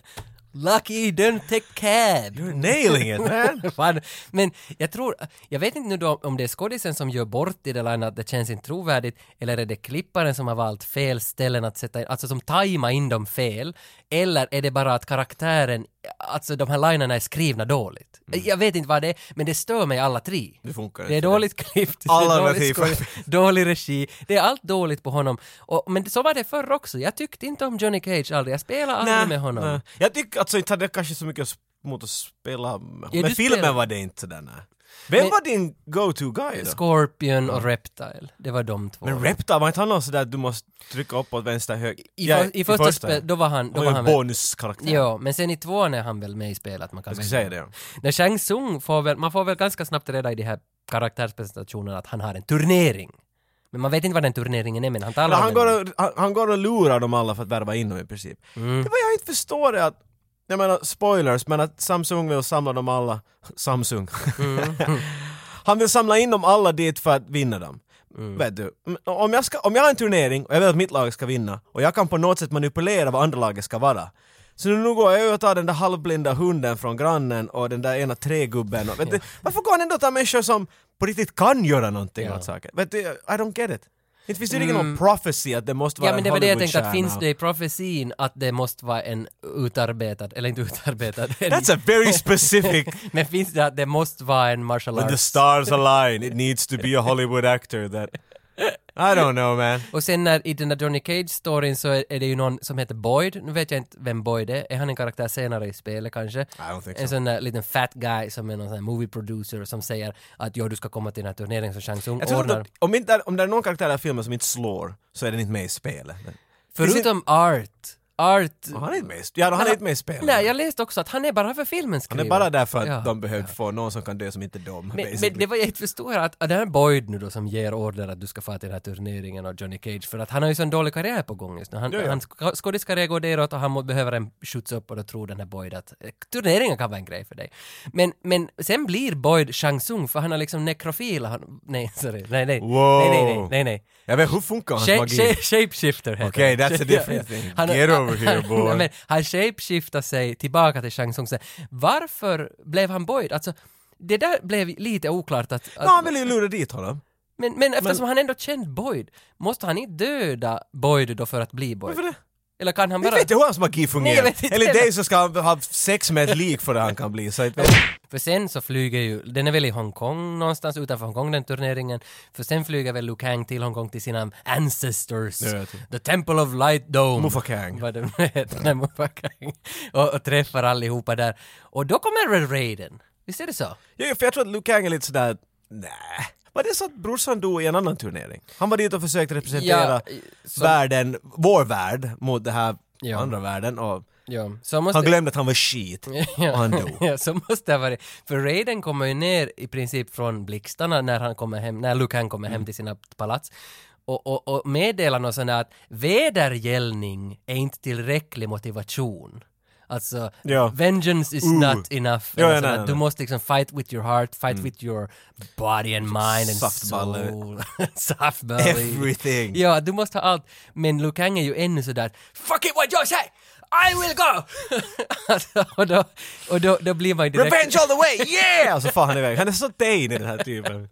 Lucky don't take cab. You're nailing it man! Fan. Men jag tror, jag vet inte nu då om det är skådisen som gör bort det eller annat, det känns inte trovärdigt, eller är det klipparen som har valt fel ställen att sätta in, alltså som tajmar in dem fel, eller är det bara att karaktären, alltså de här linerna är skrivna dåligt. Jag vet inte vad det är, men det stör mig alla tre. Mm. Det funkar Det är inte. dåligt klippt, Alla det är dåligt narrativ. skådis, dålig regi, det är allt dåligt på honom. Och, men så var det förr också, jag tyckte inte om Johnny Cage aldrig, jag spelade aldrig med honom. nej. Jag tycker alltså inte hade jag kanske så mycket mot att spela med. Ja, men du filmen spelar- var det inte den här. Vem Men- var din go-to guy då? Scorpion och Reptile, det var de två. men Reptar, var inte han någon sådär att du måste trycka uppåt vänster hög? I, för, i första spelet, då var han... Då var Han var ju han en väl, bonuskaraktär. jo, men sen i tvåan är han väl med i spelet, man kan Jag väl... skulle säga det. ja. När Shang Tsung får väl, man får väl ganska snabbt reda i de här karaktärspresentationerna att han har en turnering. Men man vet inte vad den turneringen är, men han talar Men om han, den. går och, han, han går och lurar dem alla för att värva in dem i princip. Det var jag inte förstår är att, jag menar spoilers, men att Samsung vill samla dem alla, Samsung. han vill samla in dem alla dit för att vinna dem. Mm. Vet du, m- om jag, ska, om jag har en turnering och jag vill att mitt lag ska vinna och jag kan på något sätt manipulera vad andra laget ska vara. Så nu går jag och tar den där halvblinda hunden från grannen och den där ena trägubben. Och, vet du, varför går han ändå och tar människor som på riktigt kan göra någonting åt saker? Vet du, I don't get it. Inte finns det ju ingen någon prophecy att det måste vara Mm. Ja men det en var det jag tänkte att Hollywoodstjärna. finns det i profetin att det måste vara en utarbetad, eller inte utarbetad, en, That's a very specific... men finns det att det måste vara en martial When the arts? stars align, it needs to be a Hollywood actor that... I don't know man. Och sen när, i den där Johnny Cage-storyn så är, är det ju någon som heter Boyd, nu vet jag inte vem Boyd är, är han en karaktär senare i spelet kanske? don't think en so. sån där liten fat guy som är någon sån här movie producer som säger att ja, du ska komma till den här turneringen som Shang Tsung Jag tror ordnar. att om, inte, om det är någon karaktär i den här filmen som inte slår så är den inte med i spelet. Men- Förutom Art, Art... Han är inte med i spelet. Ja, han är inte med i spelet. Nej, jag läste också att han är bara för filmen Han skriven. är bara där för att Ja. de behövde få någon som kan dö som inte är de. Men, men basically. det var jag inte förstår är att, att det här är Boyd nu då som ger order att du ska få till den här turneringen och Johnny Cage för att han har ju sån dålig karriär på gång just nu. Han, han sk- skådiskarriär går neråt och han må, behöver en skjuts upp och då tror den här Boyd att eh, turneringen kan vara en grej för dig. Men, men sen blir Boyd Shang Tsung för han är liksom nekrofil. Han, nej, sorry. Nej, nej. Wow. Nej, nej, nej. nej, nej. Jag vet, hur funkar hans Shape, magi? shape, shapeshifter heter Okej, det. that's a different thing. Han- Get over here, han- boy. Nej, men han shapeshiftar sig tillbaka till Shang Tsung. Så Varför blev han Boyd? Alltså, det där blev lite oklart att... att Ja, han ville ju lura dit honom. men, men eftersom han ändå känt Boyd, måste han inte döda Boyd då för att bli Boyd? Varför det? Eller kan han Jag bara... vet inte hur hans magi Nej, fungerar. jag vet inte Eller heller. dig så ska han ha sex med ett lik för att han kan bli. Så att, För sen så flyger ju, den är väl i Hongkong någonstans utanför Hongkong den turneringen, för sen flyger väl Liu Kang till Hongkong till sina ancestors, Ja, jag tror. the temple of light dome. Mufakang. Vad de nu heter, nej, Mufakang. Och, och träffar allihopa där. Och då kommer väl Raiden? Visst är det så? ja, för jag tror att Liu Kang är lite sådär, att, nej. Var det så att brorsan dog i en annan turnering? Han var dit och försökte representera Ja, så- världen, vår värld, mot det här Ja. andra världen och Ja. Så måste... han glömde att han var shit och han dog. Typ. ja, så måste det ha varit. För Raiden kommer ju ner i princip från blixtarna när han kommer hem, när Lukan kommer Mm. hem till sina palats. Och, och, och meddelar något sånt där att vedergällning är inte tillräcklig motivation. Alltså, Ja. vengeance is Uh. not enough. Ja, Eller ja, sånt nej, att nej, Du nej. måste liksom fight with your heart, fight with your body and mind and Saftballe. soul. Saftballe. Everything. Ja, du måste ha allt. Men Liu Kang är ju ännu sådär “Fuck it what you say! I will go!” alltså, Och, då, och då, då blir man ju direkt... Revenge all the way, yeah! Och så far han iväg. Han är så dejn i den här typen.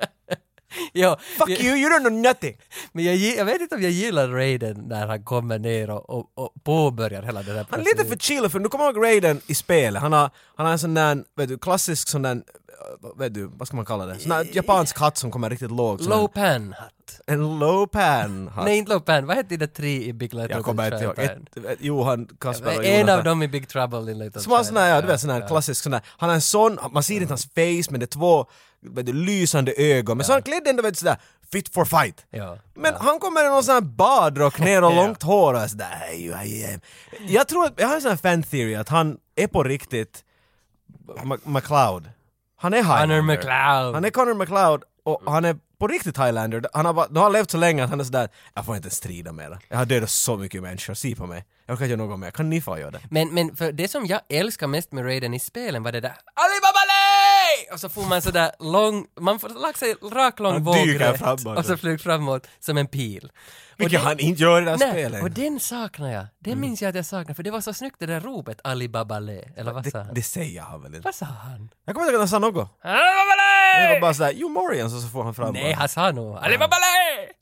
Ja, Fuck jag, you, you don't know nothing! Men jag, gi- jag vet inte om jag gillar Raiden när han kommer ner och, och, och påbörjar hela den här Han är lite för chill, för nu kommer jag ihåg Raiden i spelet, han har, han har en sån där, vet du, klassisk sån där, äh, vet du, vad ska man kalla det? Sån där japansk hatt som kommer riktigt lågt. sån här- Low pan hatt. En low pan hatt. Nej, inte low pan. Vad hette det tre i Big Little jag kommer inte ihåg. Shaitan? Ett, ett, Johan, Kasper och En Jonathan. av dem i Big Trouble in Little Som har sån China. här, ja, du vet sån här klassisk sån här, han har en sån, man ser inte hans face men det är två vet du, lysande ögon, men så är han klädd ändå vet du sådär, fit for fight. Ja, Men han kommer i någon sån här badrock ner och långt hår och sådär, "Hey, you, I am." Jag tror att, jag har en sån här fan theory att han är på riktigt Ma- McLeod. Han är Highlander. Connor McLeod. Han är Connor McLeod och han är på riktigt Highlander. Han har, bara, nu har han levt så länge att han är sådär, jag får inte strida mer. Jag har dödat så mycket människor, se på mig. Jag kan inte göra något mer, kan ni få göra det? Men, men för det som jag älskar mest med Raiden i spelen var det där Alibabale! Och så får man sådär lång, man får lagt sig rak lång Han dyker vågrätt framåt. och så flyger framåt som en pil. Vilket han inte gör i det här Nej, spelet. och den saknar jag. Den Mm. minns jag att jag saknar, för det var så snyggt det där ropet Alibabale, eller vad sa det, han? det säger han väl inte? Vad sa han? Jag kommer inte ihåg att han sa något. Det var Alibabale! bara sådär, you Morians, och så får han fram Nej, han sa nog Alibabale!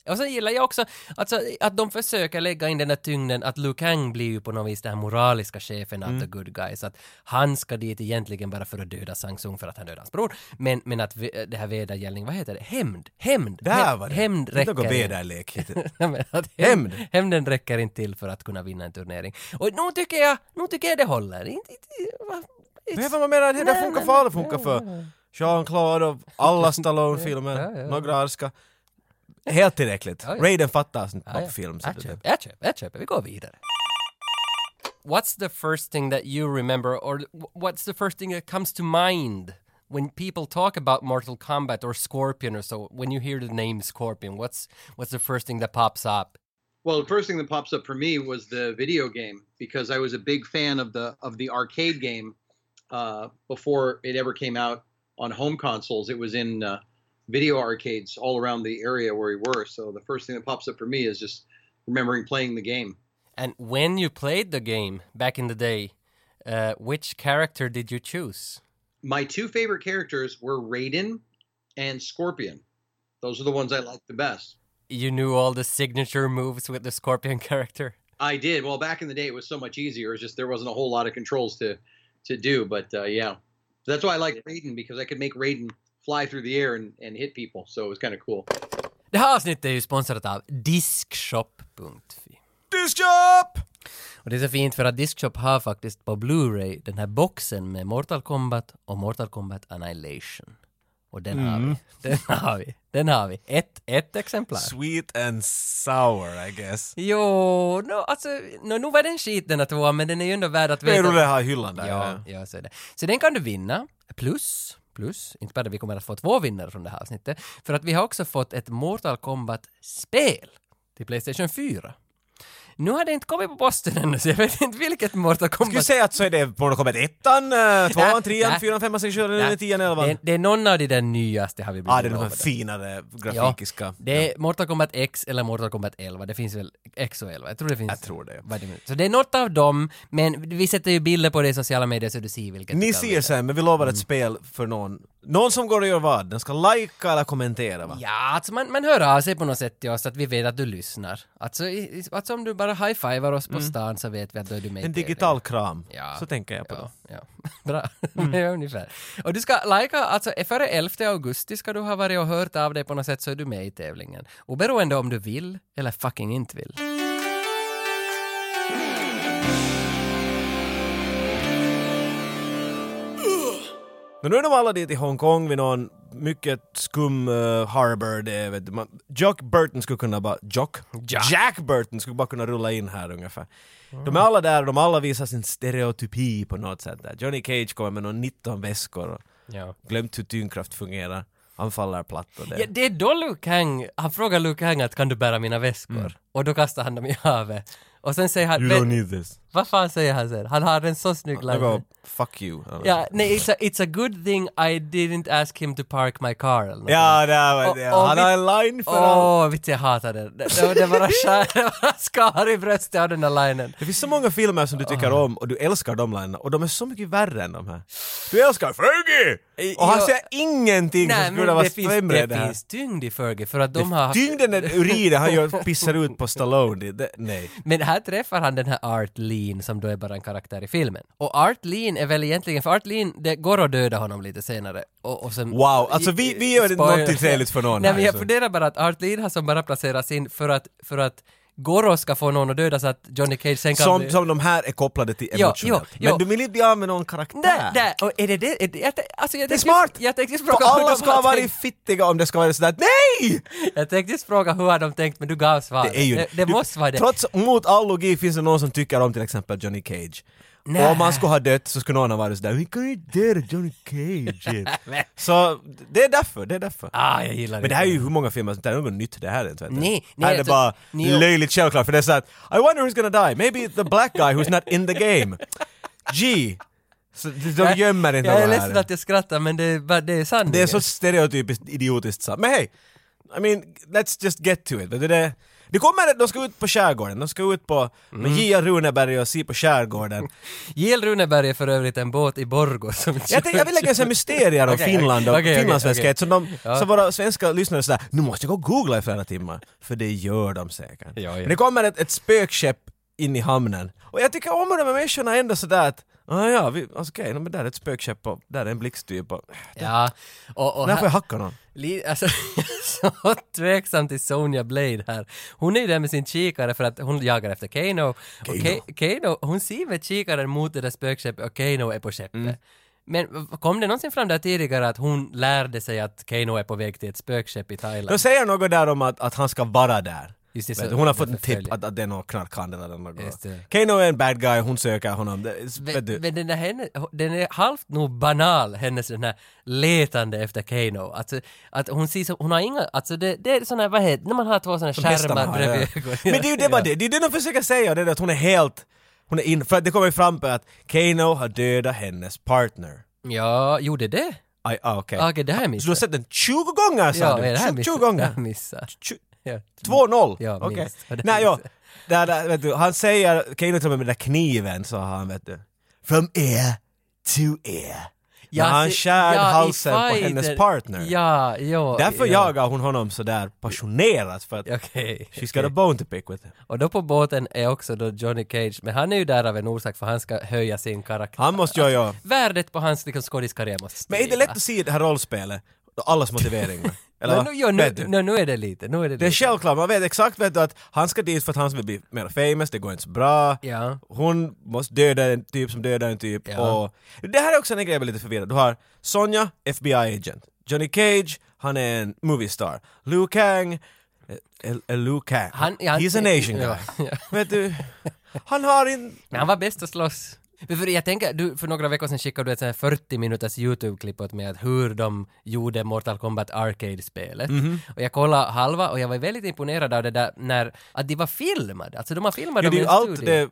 Och sen gillar jag också alltså, att de försöker lägga in den där tyngden att Liu Kang blir ju på något vis den här moraliska chefen av Mm. the good guys. Att han ska dit egentligen bara för att döda Sang Tsung för att han dödade hans bror. Men, men att ve- det här vedergällning, vad heter det? Hämnd! Hämnd! Där Häm- var det. Hämnd Inte räcker någon inte. vederlek. Nej, men att Hämnd. hämnd. Hämnden räcker inte till för att kunna vinna en turnering. Och nu tycker jag, nu tycker jag det håller. Inte, inte, vad- Men jag menar, det där Nej, funkar nej, för alla, funkar för Jean-Claude och alla Ja, ja. Stallone-filmer, några arska. Helt tillräckligt. Ja, ja. Raiden fattar sånt Ah, Ja, ja. pappfilm. så Jag det- köper, jag köper, jag köper. Vi går vidare. What's the first thing that you remember or wh- what's the first thing that comes to mind when people talk about Mortal Kombat or Scorpion or so? When you hear the name Scorpion, what's what's the first thing that pops up? Well, the first thing that pops up for me was the video game because I was a big fan of the of the arcade game uh, before it ever came out on home consoles. It was in uh, video arcades all around the area where we were. So the first thing that pops up for me is just remembering playing the game. And when you played the game back in the day, uh, which character did you choose? My two favorite characters were Raiden and Scorpion. Those are the ones I liked the best. You knew all the signature moves with the Scorpion character. I did. Well, back in the day, it was so much easier. It's just there wasn't a whole lot of controls to to do. But uh, yeah, that's why I like Raiden because I could make Raiden fly through the air and, and hit people. So it was kind of cool. Det här avsnittet är ju sponsrat av Diskshop.fi. Discshop! Och det är så fint för att Discshop har faktiskt på Blu-ray den här boxen med Mortal Kombat och Mortal Kombat Annihilation. Och den har Mm. vi. Den har vi. Den har vi. Ett, ett exemplar. Sweet and sour, I guess. Jo, no, alltså, no, nu var den skit den här tvåan, men den är ju ändå värd att Det är veta. roligt att ha hyllan där. Ja, ja. ja, så är det. Så den kan du vinna, plus, plus, inte bara vi kommer att få två vinnare från det här avsnittet, för att vi har också fått ett Mortal Kombat-spel till Playstation 4. Nu har det inte kommit på posten ännu, så jag vet inte vilket Mortal Skulle Kombat... du säga att så är det Mortal Kombat eh, 1, 2, Nej, 3, nej. 4, 5, 6, 7, 9, Nej, 10, 11? Det, det är någon av de där nyaste har vi blivit Ja, Ah, det är de här lovade. finare Ja, grafikiska. det är Mortal Kombat X eller Mortal Kombat 11. Det finns väl X och 11? Jag tror det finns. Jag tror det, ja. Vad det- Så det är något av dem, men vi sätter ju bilder på det i sociala medier så du ser vilket. Ni utav det ser är. sen, men vi lovar ett Mm. spel för någon. Någon som går och gör vad? Den ska lajka eller kommentera va? Ja, alltså man, man hör av sig på något sätt till oss att vi vet att du lyssnar. Alltså, i, i- alltså om du bara high-fivar oss på stan så vet vi att då är du med i Mm. En TV. digital kram. Ja. Så tänker jag på Ja, det. ja. Bra, mm. ungefär. Och du ska lajka, alltså före 11 augusti ska du ha varit och hört av dig på något sätt så är du med i tävlingen. Oberoende om du vill eller fucking inte vill. Men nu är de alla dit i Hongkong vid någon mycket skum eh, harbor. Det, är, vet du, man, Jock Burton skulle kunna bara... Jock? Jack. Burton skulle bara kunna rulla in här ungefär. De är alla där och de alla visar sin stereotypi på något sätt. Där. Johnny Cage kommer med någon 19 väskor och Ja. glömt hur tyngdkraft fungerar. Han faller platt och det. Ja, det är då Liu Kang, han frågar Liu Kang att kan du bära mina väskor? Och då kastar han dem i havet. Och sen säger han, You don't "Men, need this. vad fan säger han sen? Han har en så snygg Jag line. går, fuck you. Ja, nej, it's a, it's a good thing I didn't ask him to park my car eller något Ja, det var det. Och- och Han vi- har en line för allt. Åh, vitt jag hatar den. Det, det, det bara skär, det bara skar i bröstet av den där linen. Det finns så många filmer som du tycker om och du älskar de linerna och de är så mycket värre än de här. Du älskar Fergie! Och han Ja. säger ingenting som skulle vara det, finns, sämre än det det här. finns tyngd i Fergie för att de har... Tyngden är urinen han gör, pissar ut på Stallone. Det, det, nej. Men här träffar han den här Art Lean som då är bara en karaktär i filmen. Och Art Lean är väl egentligen, för Art Lean, det går att döda honom lite senare. Och, och sen, Wow, alltså vi- vi gör det Spoiler. någonting trevligt för någon Nej här, alltså. men jag så. funderar bara att Art Lean har som bara placerats in för att, för att Goro ska få någon att döda så att Johnny Cage sen kan Som, bli... som de här är kopplade till Jo, emotionellt. jo, jo. Men du vill inte bli av med någon karaktär. Där, där! Och är det det? Är det, jag, tän- alltså jag Ah. Det tänkte- är smart! Jag tänkte just För fråga hur alla de ska har vara tänkt. fittiga om det ska vara sådär NEJ! Jag tänkte just fråga hur har de tänkt men du gav svaret. Det är ju det, det Du, måste vara det. Trots, mot all logik finns det någon som tycker om till exempel Johnny Cage. Nej. Och om han skulle ha dött så skulle någon ha varit sådär ”Vi kan inte döda Johnny Cage”. så det är därför, det är därför. Ah, jag gillar Men det här är ju hur många filmer som det här är något nytt, det här är inte vet du. Nej, nej, Här är det alltså, bara ni- löjligt självklart för det är såhär ”I wonder who's gonna die, maybe the black guy who's not in the game”. G. Så de de gömmer inte Jag är de här. ledsen att jag skrattar men det, är bara- det är sanningen. Det är så stereotypiskt idiotiskt sagt. Men hej! I mean, let's just get to it. Det, det, Det kommer, de ska ut på skärgården, de ska ut på Mm. med J.A. Runeberg och se på skärgården. J.L. Runeberg är för övrigt en båt i Borgå som Jag, tänkte, jag vill lägga en sån här mysterier om Okej, Finland och okej, okej, finlandssvenskhet som de, Ja. så våra svenska lyssnare sådär ”nu måste jag gå och googla i flera timmar”, för det gör de säkert. Ja, ja. Men det kommer ett, ett spökskepp in i hamnen och jag tycker om de här människorna ändå sådär att Ah, ja, vi- alltså, okej, okay, där är ett spökskepp och där är en blixttyp och... Ja, och, och När här, får jag hacka någon? li, alltså, jag är så tveksam till Sonja Blade här. Hon är ju där med sin kikare för att hon jagar efter Kano. Kano. Och Ka- Kano hon ser med kikaren mot det där spökskeppet och Kano är på skeppet. Mm. Men kom det någonsin fram där tidigare att hon lärde sig att Kano är på väg till ett spökskepp i De Thailand? säger något där om att, att han ska vara där. Just det, Vet så- du, hon har det fått en tipp förföljer. att, att det är någon knarkhandel eller något. Just det. Kano är en bad guy, hon söker honom. Det, vet du. Men, men den, där henne, den är halvt nog banal, hennes den här letande efter Kano. Alltså, att hon ser så, hon har inga, alltså det, det är såna här, vad heter när man har två såna här Hästarna skärmar har, bredvid ja. ögonen. Men det är ju det bara det, det är det de försöker säga, det är det att hon är helt... Hon är in, för att det kommer ju fram på att Kano har dödat hennes partner. Ja, gjorde det? Aj, ah, okej. Ah, Okej, det här Så du har missade sett den 20 gånger sa Ja, du? det här 20, missade 20 Det gånger? här missade 20 Ja. 2-0? Ja, Okej. minst. Ja, det Nej, ja. minns Där, där, vet du, han säger, Kano till och med med den där kniven sa han vet du. From ear to ear. Ja, han se- skär Alltså, ja, i halsen på fighten. hennes partner. Ja, ja. Därför ja. jagar hon honom sådär passionerat för att Okej. she's got a bone to pick with him. Och då på båten är också då Johnny Cage, men han är ju där av en orsak för han ska höja sin karaktär. Han måste ju, ja. Värdet på hans liksom, skådiskarriär måste Men är det lätt att se det här rollspelet och allas motiveringar? Eller Eller, vad? nu, alltså. ja, Vet nu, du? nu, nu är det lite, nu är det, Det är lite. självklart, man vet exakt vet du, att han ska dit för att han ska bli mer famous, det går inte så bra. Ja. Hon måste döda en typ som dödar en typ. Ja. Och det här är också en grej jag blir lite förvirrad. Du har Sonja, FBI-agent. Johnny Cage, han är en moviestar. Liu Kang, eh, eh, Liu Kang. Han- ja, han- He's an asian guy. ja, ja. Vet du, han har en... Men han var bäst att slåss. För- För jag tänker, du, för några veckor sedan skickade du ett sånt här 40 minuters YouTube-klipp åt mig att hur de gjorde Mortal Kombat Arcade-spelet. Mhm. Och jag kollade halva och jag var väldigt imponerad av det där när, att de var filmade. Alltså de har filmat Ja, dem i det är ju en allt studio. det...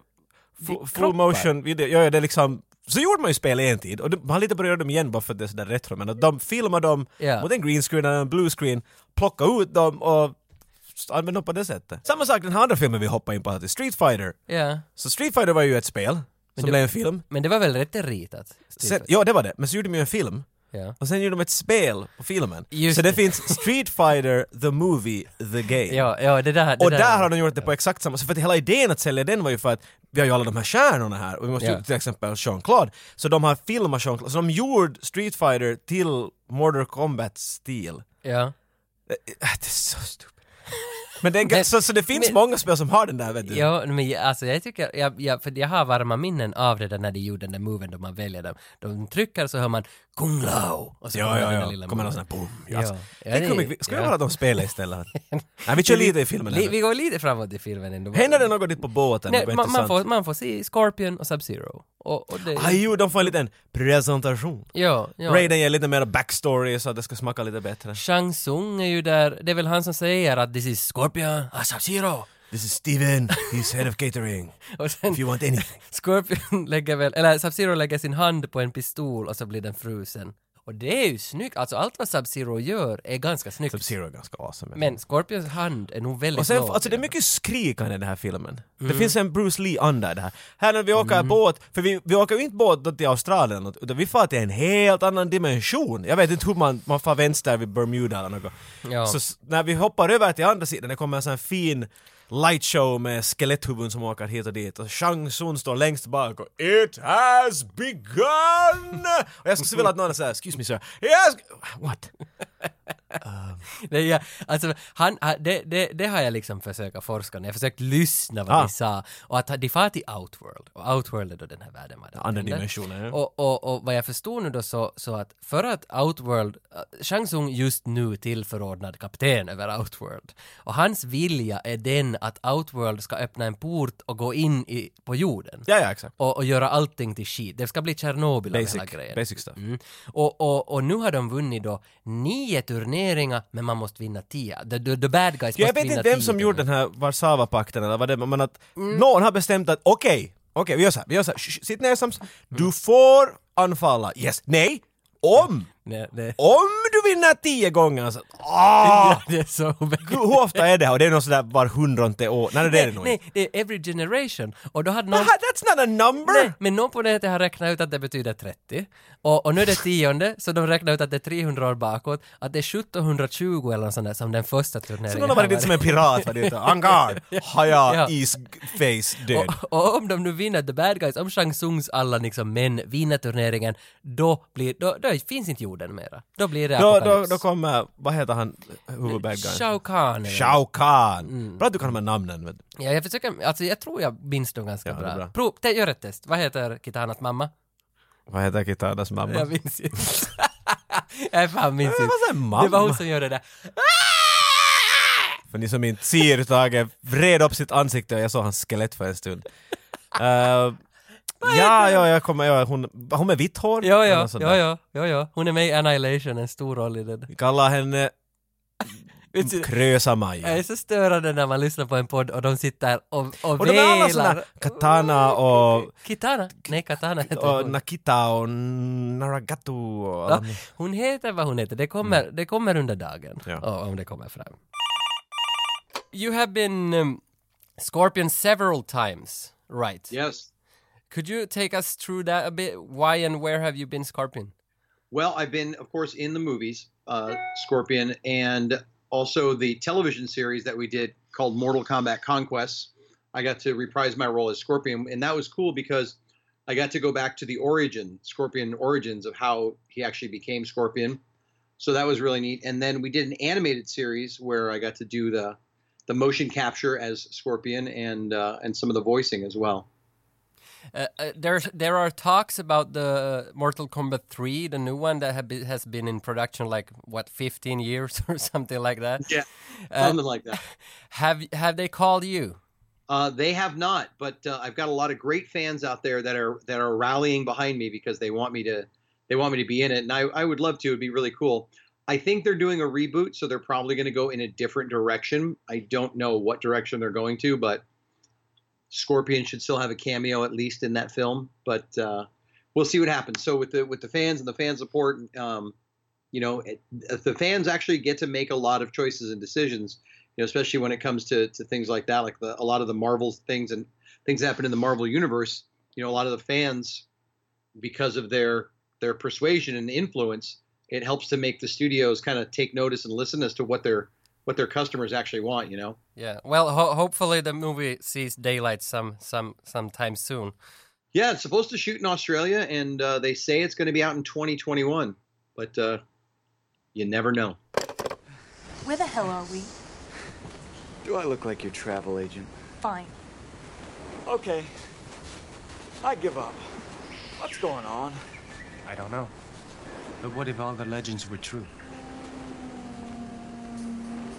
Full, kroppar. full motion video, ja, ja, det är liksom... Så gjorde man ju spel i en tid, och det, man har lite börjat göra dem igen bara för att det är sådär retro, men att de filmar dem Ja. mot en green screen eller en blue screen, plockar ut dem och s- använder dem på det sättet. Samma sak den här andra filmen vi hoppar in på, här, Street Fighter. Ja. Så Street Fighter var ju ett spel, som blev en film. Men det var väl rätt ritat? typ. Sen, ja, det var det, men så gjorde de ju en film. Ja. Och sen gjorde de ett spel på filmen. Just så det, det. finns Street Fighter, The Movie, The Game. Ja, ja, det där. Det Och där har de gjort det på exakt samma sätt, för att hela idén att sälja den var ju för att vi har ju alla de här stjärnorna här och vi måste Ja. ju till exempel Jean-Claude. Så de har filmat Jean-Claude, så de gjorde Street Fighter till Mortal Kombat-stil. Ja. Äh, Det är så stupid. Men det, är, Men- så, så det finns men- många spel som har den där vet du. Ja, men jag, alltså jag tycker, jag, jag, för jag har varma minnen av det där när de gjorde den där moven då man väljer dem. De trycker så hör man Kung Lao! Och så Ja, ja, den där ja. lilla Kommer någon moven. sån här boom. Ja. Alltså, Ja, tänk det- hur mycket- Ska vi ja. höra dem spela istället? Nej, vi kör lite i filmen. Li, ändå. vi går lite framåt i filmen ändå. Händer det något dit på båten? Nej, Det var man, man, intressant. får, man får se Scorpion och Sub-Zero. Och, och det, Ah, jo, de får en liten presentation. ja, ja. Raiden ger lite mer backstory så att det ska smaka lite bättre. Shang Tsung är ju där, det är väl han som säger att this is Scorpion, ah, Sub-Zero! This is Steven, he's head of catering. Och sen If you want anything. Scorpion lägger väl, eller Sub-Zero lägger sin hand på en pistol och så blir den frusen. Och det är ju snyggt, alltså allt vad Sub-Zero gör är ganska snyggt. Sub-Zero är ganska awesome. Men Scorpions hand är nog väldigt och sen, låg. alltså det är mycket skrikande i den här filmen. Mm. Det finns en Bruce Lee-anda i det här. Här när vi åker båt, för vi, vi åker ju inte båt då till Australien, utan vi far till en helt annan dimension. Jag vet inte hur man, man far vänster vid Bermuda eller något. Ja. Så s- när vi hoppar över till andra sidan, det kommer en sån här fin lightshow med skeletthuvuden som åker hit och dit och Shang Tsung står längst bak och “It has begun!” Och jag skulle så vilja att någon säger “Excuse me sir, yes!” What? Um. Nej, ja, alltså, han, han- det, det, det har jag liksom försökt forska när jag har försökt lyssna vad Ah. de sa. Och att de far till Outworld, och Outworld är då den här världen man Andra använder. dimensioner, ja. Och, och, och vad jag förstod nu då så, så att för att Outworld, eh, Shang Tsung just nu tillförordnad kapten över Outworld. Och hans vilja är den att Outworld ska öppna en port och gå in i, på jorden. Ja, ja, exakt. Och, och göra allting till skit. Det ska bli Tjernobyl av hela Basic, grejen. basic stuff. Mm. Och, och, och nu har de vunnit då nio turneringar, men man måste vinna tio. The, the, the bad guys Jag måste vet vinna inte vem tio som gjorde den här Warszawa-pakten eller vad det var, men att någon har bestämt att okej, okej vi gör så här, vi gör så här, Shh, shh, sitt ner Sams, du får anfalla, yes, nej, om Nej, det, Om du vinner tio gånger så... Ah! det är så obehagligt. Hur ofta är det här? Och det är nog sådär var hundrade år. Nej, det är det nog Nej, inte. det är every generation. Och då hade någon... Aha, That's not a number! Nej, men någon på nätet har räknat ut att det betyder 30. Och, och nu är det tionde, så de räknar ut att det är 300 år bakåt. Att det är 1720 eller något sånt där som den första turneringen Så någon har varit lite som en pirat, vad det heter. Angard! Haja, Ja. isface, död. Och, och om de nu vinner The Bad Guys, om Shang Tsungs alla liksom män vinner turneringen, då, blir, då, då finns inte jorden mera. Då blir det Då, då, apokalyps. då kommer, vad heter han, huvudbadguyen? Shao Kahn. Mm. eller- Shao Kahn! Bra att du kan de här namnen. vet du. Ja, jag försöker, alltså jag tror jag minns dem ganska Ja, det bra. är bra. Prov, te, gör ett test. Vad heter Kitanas mamma? Vad heter Kitanas mamma? Jag minns inte. jag fan minns Men vad sa inte. mamma? Det var hon som gjorde det. För ni som inte ser, Tage vred upp sitt ansikte och jag såg hans skelett för en stund. Eh, ja, ja, jag kommer, ja, hon, hon med vitt hår? Ja, Eller ja, något sånt ja, där. ja, ja, ja. Hon är med i Annihilation, en stor roll i den. Vi kallar henne Vet du, Jag är Krösa-Maja. så störande när man lyssnar på en podd och de sitter och, och, Och de är alla såna velar. Katana och, Kitana? Nej, Katana heter och hon. Nakita och Naragatu och alla Ja, hon heter vad hon heter, det kommer, det kommer under dagen. Ja. Ja, Om det kommer fram. You have been um, Scorpion several times, right? Yes. Could you take us through that a bit? Why and where have you been Scorpion? Well, I've been, of course, in the movies, uh, Scorpion, and also the television series that we did called Mortal Kombat Conquests. I got to reprise my role as Scorpion, and that was cool because I got to go back to the origin, Scorpion origins of how he actually became Scorpion. So that was really neat. And then we did an animated series where I got to do the the motion capture as Scorpion and uh, and some of the voicing as well. Uh, uh, there, there are talks about the Mortal Kombat 3, the new one that have been, has been in production like, what, 15 years or something like that. Yeah, Uh, something like that. Have, have they called you? Uh, they have not, but uh, I've got a lot of great fans out there that are that are rallying behind me because they want me to they want me to be in it, and I, I would love to. It'd be really cool. I think they're doing a reboot, so they're probably going to go in a different direction. I don't know what direction they're going to, but Scorpion should still have a cameo at least in that film. But uh, we'll see what happens. So with the with the fans and the fan support, um, you know, it, the fans actually get to make a lot of choices and decisions you know, especially when it comes to, to things like that, like the, a lot of the Marvel things and things that happen in the Marvel universe. You know, a lot of the fans, because of their their persuasion and influence, it helps to make the studios kind of take notice and listen as to what their what their customers actually want. You know, Yeah. Well, ho- hopefully the movie sees daylight some some sometime soon. yeah, it's supposed to shoot in Australia, and uh, they say it's going to be out in 2021, but uh, you never know. Where the hell are we? Do I look like your travel agent? Fine. Okay. I give up. What's going on? I don't know. But what if all the legends were true?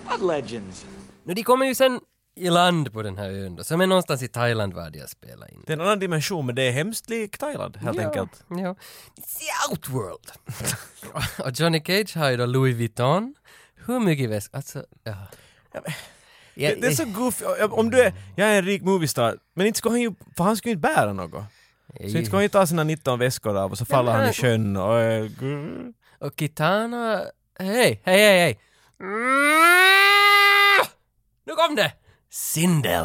What legends? Nu, de kommer ju sen i land på den här ön då, som är någonstans i Thailand värd jag spelar in. Det är en annan dimension men det är hemskt lik Thailand helt enkelt. Ja. It's the outworld! och Johnny Cage har ju då Louis Vuitton. Hur mycket väska, alltså, ja. Ja, Det, det är så goofy, om du är, jag är en rik moviestar, men inte skulle han ju, för han skulle ju inte bära något. Så inte skulle han ju ta sina 19 väskor av och så faller han i sjön och... är gu- Och Kitana... Hej, hej, hej, hej! Nu kom det! Sindel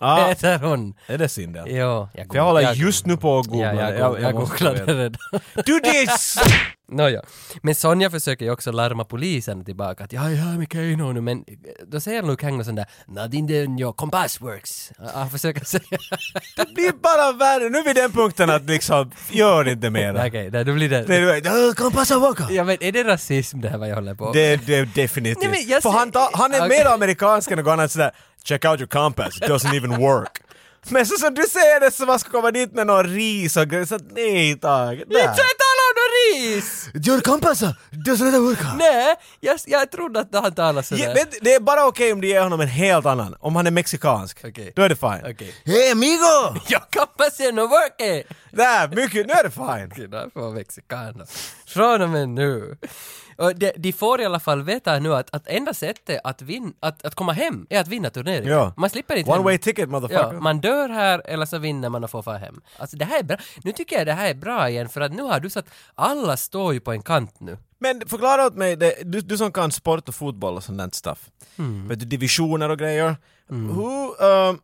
Ah, heter hon. är det synd det? Ja, jag, För jag håller just nu på och Ja, googlar. jag, jag, jag måste googlade veta. redan. Do this! Nåja. Men Sonja försöker ju också larma polisen tillbaka att ja, jag är med Keino nu, men eh, då säger Luke Hang sån där ”Not in the your compass works”. Han försöker säga... Det blir bara värre, nu är vi den punkten att liksom, gör inte mera. Okej, okay, då blir Det det... är, "Åh, kom passa Waka! Ja men är det rasism det här vad jag håller på med? Det det är definitivt. Nej, men jag För ser- han, tar- han är Okej. mer amerikansk än någon annan sådär “Check out your compass, it doesn't even work”. Men så som du säger det som man ska komma dit med någon ris och grejer, så att nej tack. Det är inte tala om någon ris! Your compass doesn't even work. Nej, jag, jag trodde att han talade sådär. Ja, men det är bara okej om du ger honom en helt annan. Om han är mexikansk, Okej. då är det fine. Okej. Hey amigo! Jag compass är nog working! Där, mycket, nu är det fine. Gud, där får vara mexikan då. Från och med nu. Och de, de får i alla fall veta nu att, att enda sättet att, vin, att, att komma hem är att vinna turneringen. Ja. Man slipper inte One hem. way ticket motherfucker. Ja, man dör här eller så vinner man och får fara hem. Alltså det här är bra. Nu tycker jag det här är bra igen för att nu har du satt, alla står ju på en kant nu. Men förklara åt mig, det, du, du som kan sport och fotboll och sånt där stuff. Mm. Vet du, divisioner och grejer. Hur, ehm,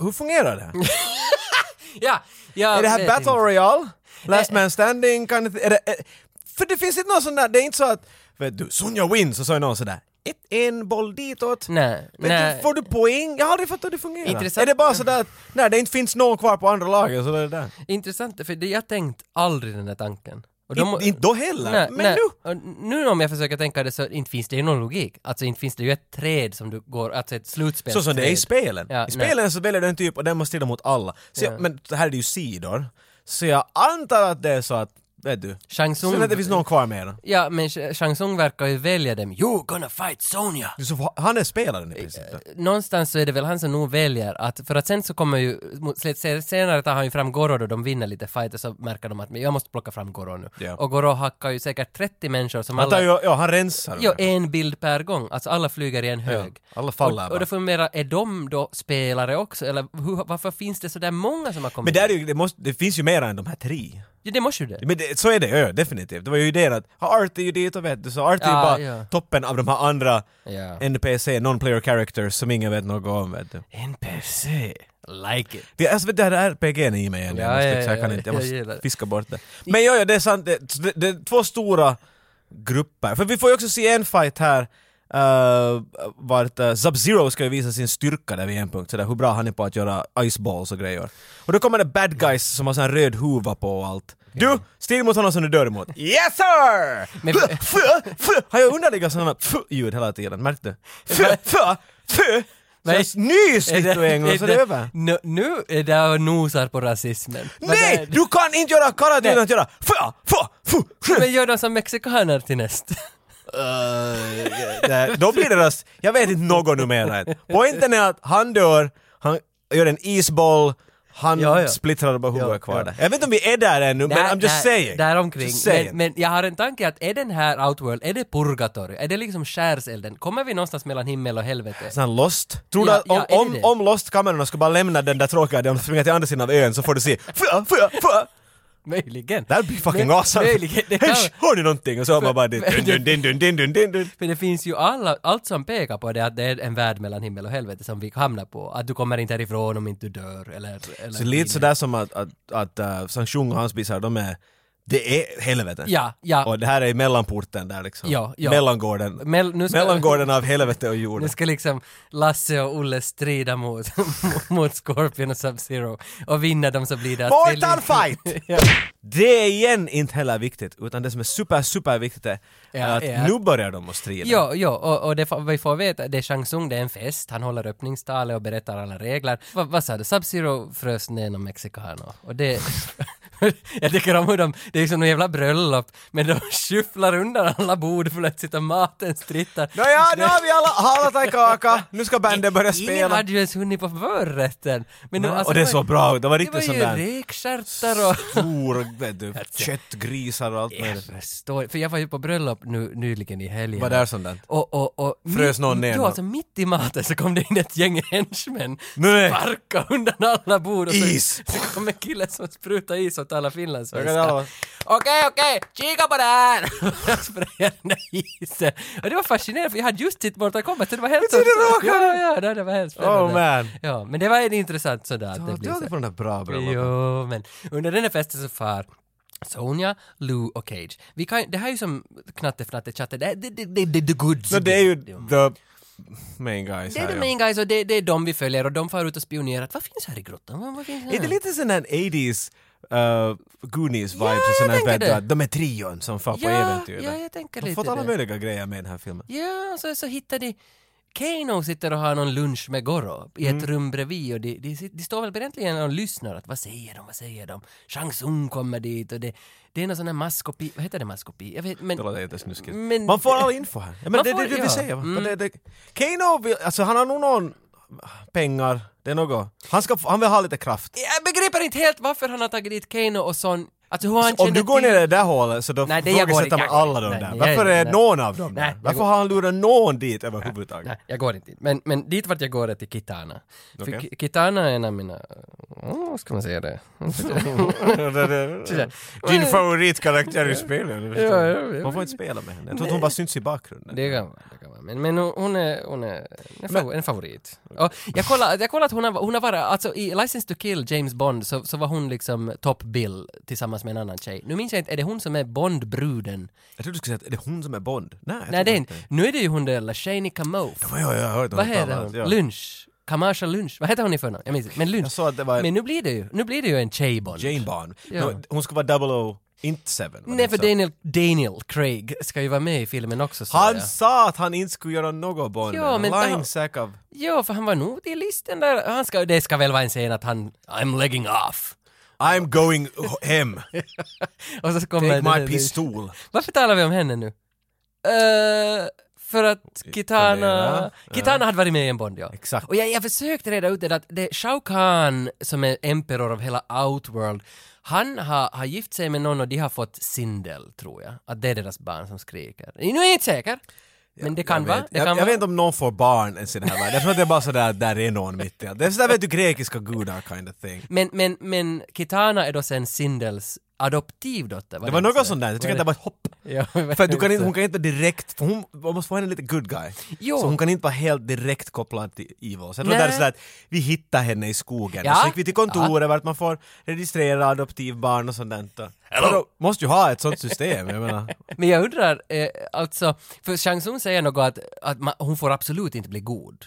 hur fungerar det? här? Ja, ja, är det här vet Battle inte. Royale? Last Man Standing? Kan det, är det, är, för det finns inte någon sån där, det är inte så att vet du, Sonja wins och så är någon sådär ett, en boll ditåt. Nej, Men nej. Du, får du poäng? Jag har aldrig fattat hur det fungerar. Intressant. Är det bara sådär att när det inte finns någon kvar på andra laget så är det där? Intressant, för det, jag tänkt aldrig den här tanken. Och Inte- inte då heller, men nu! Nu om jag försöker tänka det så inte finns det ju någon logik. Alltså inte finns det ju ett träd som du går, alltså ett slutspel. Så som det är i spelen. Ja, I spelen så väljer du en typ och den måste strida mot alla. Så jag, Men det här är det ju sidor. Så jag antar att det är så att, vet du. Shang Tsung- Sen att det finns någon kvar med den. Ja, men Sh- Shang Tsung verkar ju välja dem. You're gonna fight Sonja! Du, Så han är spelaren i princip. Eh, Någonstans så är det väl han som nog väljer att, för att sen så kommer ju, mot slut- se- senare tar han ju fram Goro då de vinner lite fighter så märker de att men jag måste plocka fram Goro nu. Ja. Och Goro hackar ju säkert 30 människor som Han tar alla... ju, ja han rensar. Jo, en bild per gång. Alltså alla flyger i en hög. Ja, alla faller och, bara. och då funderar, är de då spelare också? Eller hur, varför finns det sådär många som har kommit? men där är ju, det, måste, det finns ju mer än de här tre. Ja, det måste ju det. Men det, så är det, ja, ja, definitivt. Det var ju idén att, ha Art är ju dit och vet du, så Art är ju Ja, bara ja. toppen av de här andra Ja. NPC, non-player characters som ingen vet något om vet du. NPC. Like it. Det, alltså, det här är RPG i mig igen. Ja, jag, måste, ja, fixa, jag ja, kan ja, inte, jag jag måste gillar det. fiska bort det. Men ja, ja, det är sant. Det, så det, det är två stora grupper. För vi får ju också se en fight här eh, vart eh, Sub-Zero ska ju visa sin styrka där vid en punkt, sådär hur bra han är på att göra iceballs och grejer. Och då kommer det bad guys som har sån här röd huva på och allt. Du, stig mot honom som du dör emot. Yes sir! Men- Fuh, fuh, fuh. Har jag underliggande sådana fuh ljud hela tiden? Märkte du? Fuh, fuh, fuh! Så Nej. jag nys lite och en gång, så det är över. nu, nu är det och nosar på rasismen. Vad Nej! är det? Du kan inte göra karate utan Nej. att göra fa, fa, fu, sju. Men gör de som mexikaner till näst. Nej, Då blir det rast. Jag vet inte något numera. Poängen är att han dör, han gör en isboll, han Ja, ja. splittrar bara huvudet Ja, kvar ja. där. Jag vet inte om vi är där ännu, men Där- I'm just där- saying. Däromkring. Just saying. Men, men jag har en tanke att är den här Outworld, är det purgatory? Är det liksom skärselden? Kommer vi någonstans mellan himmel och helvete? Sån här Lost. Tror Ja, du att ja, är om, det det? om, om Lost-kamerorna skulle bara lämna den där tråkiga, de springer till andra sidan av ön så får du se fa, fa, fa. Möjligen. That'd be fucking Men- awesome! Möjligen. Det kan, Hörs, hör ni någonting? Och så hör man bara det. Dun, dun, dun, dun, dun, dun, dun. För det finns ju alla, allt som pekar på det att det är en värld mellan himmel och helvete som vi hamnar på. Att du kommer inte härifrån om inte du dör eller... eller Så lite sådär som att, att, att uh, Sanktion och hans bisar, de är, det är helvete. Ja, ja. Och det här är mellanporten där liksom. Ja, ja. Mellangården. Mel- nu ska- Mellangården av helvete och Nu jorden. ska liksom Lasse och Olle strida mot, mot Scorpion och Sub-Zero och vinner dem så blir det... att Mortal Felix- fight! ja. Det är igen inte heller viktigt, utan det som är super, super viktigt är Ja, att ja. nu börjar de att strida. Jo, jo, och, och det får, vi får veta, det är Shang Tsung, det är en fest, han håller öppningstalet och berättar alla regler. Va, vad sa du, Sub-Zero frös ner någon mexikan och- och det... jag tycker om hur de, det är ju som en jävla bröllop, men de skyfflar undan alla bord plötsligt och maten strittar. Nåja, nu har vi alla halat en kaka, nu ska bandet börja Ingen spela. hade ju ens hunnit på förrätten! Men de- Ja, alltså, och det var- såg bra ut, det var riktigt Det sån var där- ju rekstjärtar och... Stor, vet du, köttgrisar och allt Jag möjligt. förstår, för jag var ju på bröllop nu, nyligen i helgen. Var där sånt där? Och, och, och, Frös någon ner Ja, någon? alltså mitt i maten så kom det in ett gäng henchmen. Nej. Sparka undan alla bord. Och så, Is. Så kom en kille som sprutade is åt alla Jag kan finlandssvenskar. alla- Okej, okej, kika på det här! jag sprayade den där isen. Och det var fascinerande för jag hade just titt Mortal Kombat så det var helt... Men se, det ja, råkade- ja, ja, det var helt spännande. Oh, man. Ja, men det var en intressant sådär. att det Du blir har så. alltid på den där bra bröllop. Jo, men under den här festen så far Sonja, Lou och Cage. Vi kan, det här är ju som knatte fnatte chatte, det, det, det, det, det är the goods. No, det är ju the main guys det är här, the ja. main guys och det, det är de vi följer och de far ut och spionerar. att Vad finns här i grottan? Vad, vad finns här? Är det lite sån där 80s uh, Goonies-vibes? Ja, och jag sån här tänker vet du, det. att de är trion som far på ja, äventyr. Ja, jag tänker de har lite fått alla det. möjliga grejer med i den här filmen. Ja, så, så hittar de... Kano sitter och har någon lunch med Goro i ett Mm. rum bredvid och de, de, sit- de står väl egentligen och lyssnar att vad säger de, vad säger de? Shang Tsung kommer dit och det, det är någon sån här maskopi, vad heter det maskopi? Jag vet, men... Det låter jättesnuskigt. Men- Man får all info här. Ja, men Man det är får- det du ja. vill säga va? Mm. Det, det, Kano vill, alltså han har nog någon pengar, det är något. Han, ska, få- han vill ha lite kraft. Jag begriper inte helt varför han har tagit dit Kano och Son. Alltså hur han Om kände du går till- ner i det där hålet så då Nej, det jag går ifrågasätter inte, man jag går alla de inte. där. Nej, Varför jag- är nej. någon av dem Nej, där? jag Varför går- har han lurat någon dit överhuvudtaget? Nej, jag går inte dit. Men, men dit vart jag går är till Kitana. För Okej. Ki- Kitana är en av mina... Åh, ska man säga det? Din favoritkaraktär i spelet, du förstår. Ja, ja, ja. Man får inte spela med henne. Jag tror att hon bara syns i bakgrunden. Det kan man, det kan man. Men, men hon är, hon är en, fav- en favorit. Och jag kollade jag kollade att hon har, hon har varit, alltså i License to Kill, James Bond, så, så var hon liksom top bill tillsammans med en annan tjej. Nu minns jag inte, är det hon som är Bondbruden? Jag trodde du skulle säga att är det hon som är Bond? Nej, jag Nej, det tror är inte. Nu är det ju hon där, Shaney Kamof. Ja, ja, jag har hört Vad honom tala heter om hon? det, ja. Lunch? Kamasha Lunch? Vad heter hon i förnamn? Jag minns inte. Men Lunch. Jag sa att det var Men nu blir det ju, nu blir det ju en tjej-Bond. Jane Bond. Ja. No, hon skulle vara 007, inte 7. var det Nej, inte för så? Daniel, Daniel Craig ska ju vara med i filmen också sa Han jag. sa att han inte skulle göra något Bond. Ja, Ja, men men ta- Lying sack of... Jo, för han var nog i listan där. Han ska, det ska väl vara en scen att han I'm legging off. I'm going hem. Och så kommer Take den- my pistol. Varför talar vi om henne nu? Eh, för att Kitana... Ponera. Kitana hade varit med i en Bond, ja. Exakt. Och jag, jag försökte reda ut det där att det är Shao Kahn som är emperor av hela Outworld. Han har, har gift sig med någon och de har fått Sindel, tror jag. Att det är deras barn som skriker. Nu är jag inte säker. Men det kan jag vara. vet, det jag, kan vara. jag vet inte om någon får barn ens i den här världen. Jag tror att det är bara sådär att där är någon mitt i allt. Det är sådär vet du grekiska gudar kind of thing. Men, men, men Kitana är då sen Sindels adoptivdotter. Det var något sånt där. Jag tycker att det var ett hopp. Ja, För att du kan inte, hon kan inte direkt, för hon, man måste få henne lite good guy. Jo. Så hon kan inte vara helt direkt kopplad till Evil. Så jag tror Nej. det är sådär att vi hittar henne i skogen. Ja. Och så gick vi till kontoret vart man får registrera adoptivbarn och sånt där. Så då måste ju ha ett sånt system, jag menar. Men jag undrar, eh, alltså, för Shang Tsung säger något att, att man, hon får absolut inte bli god.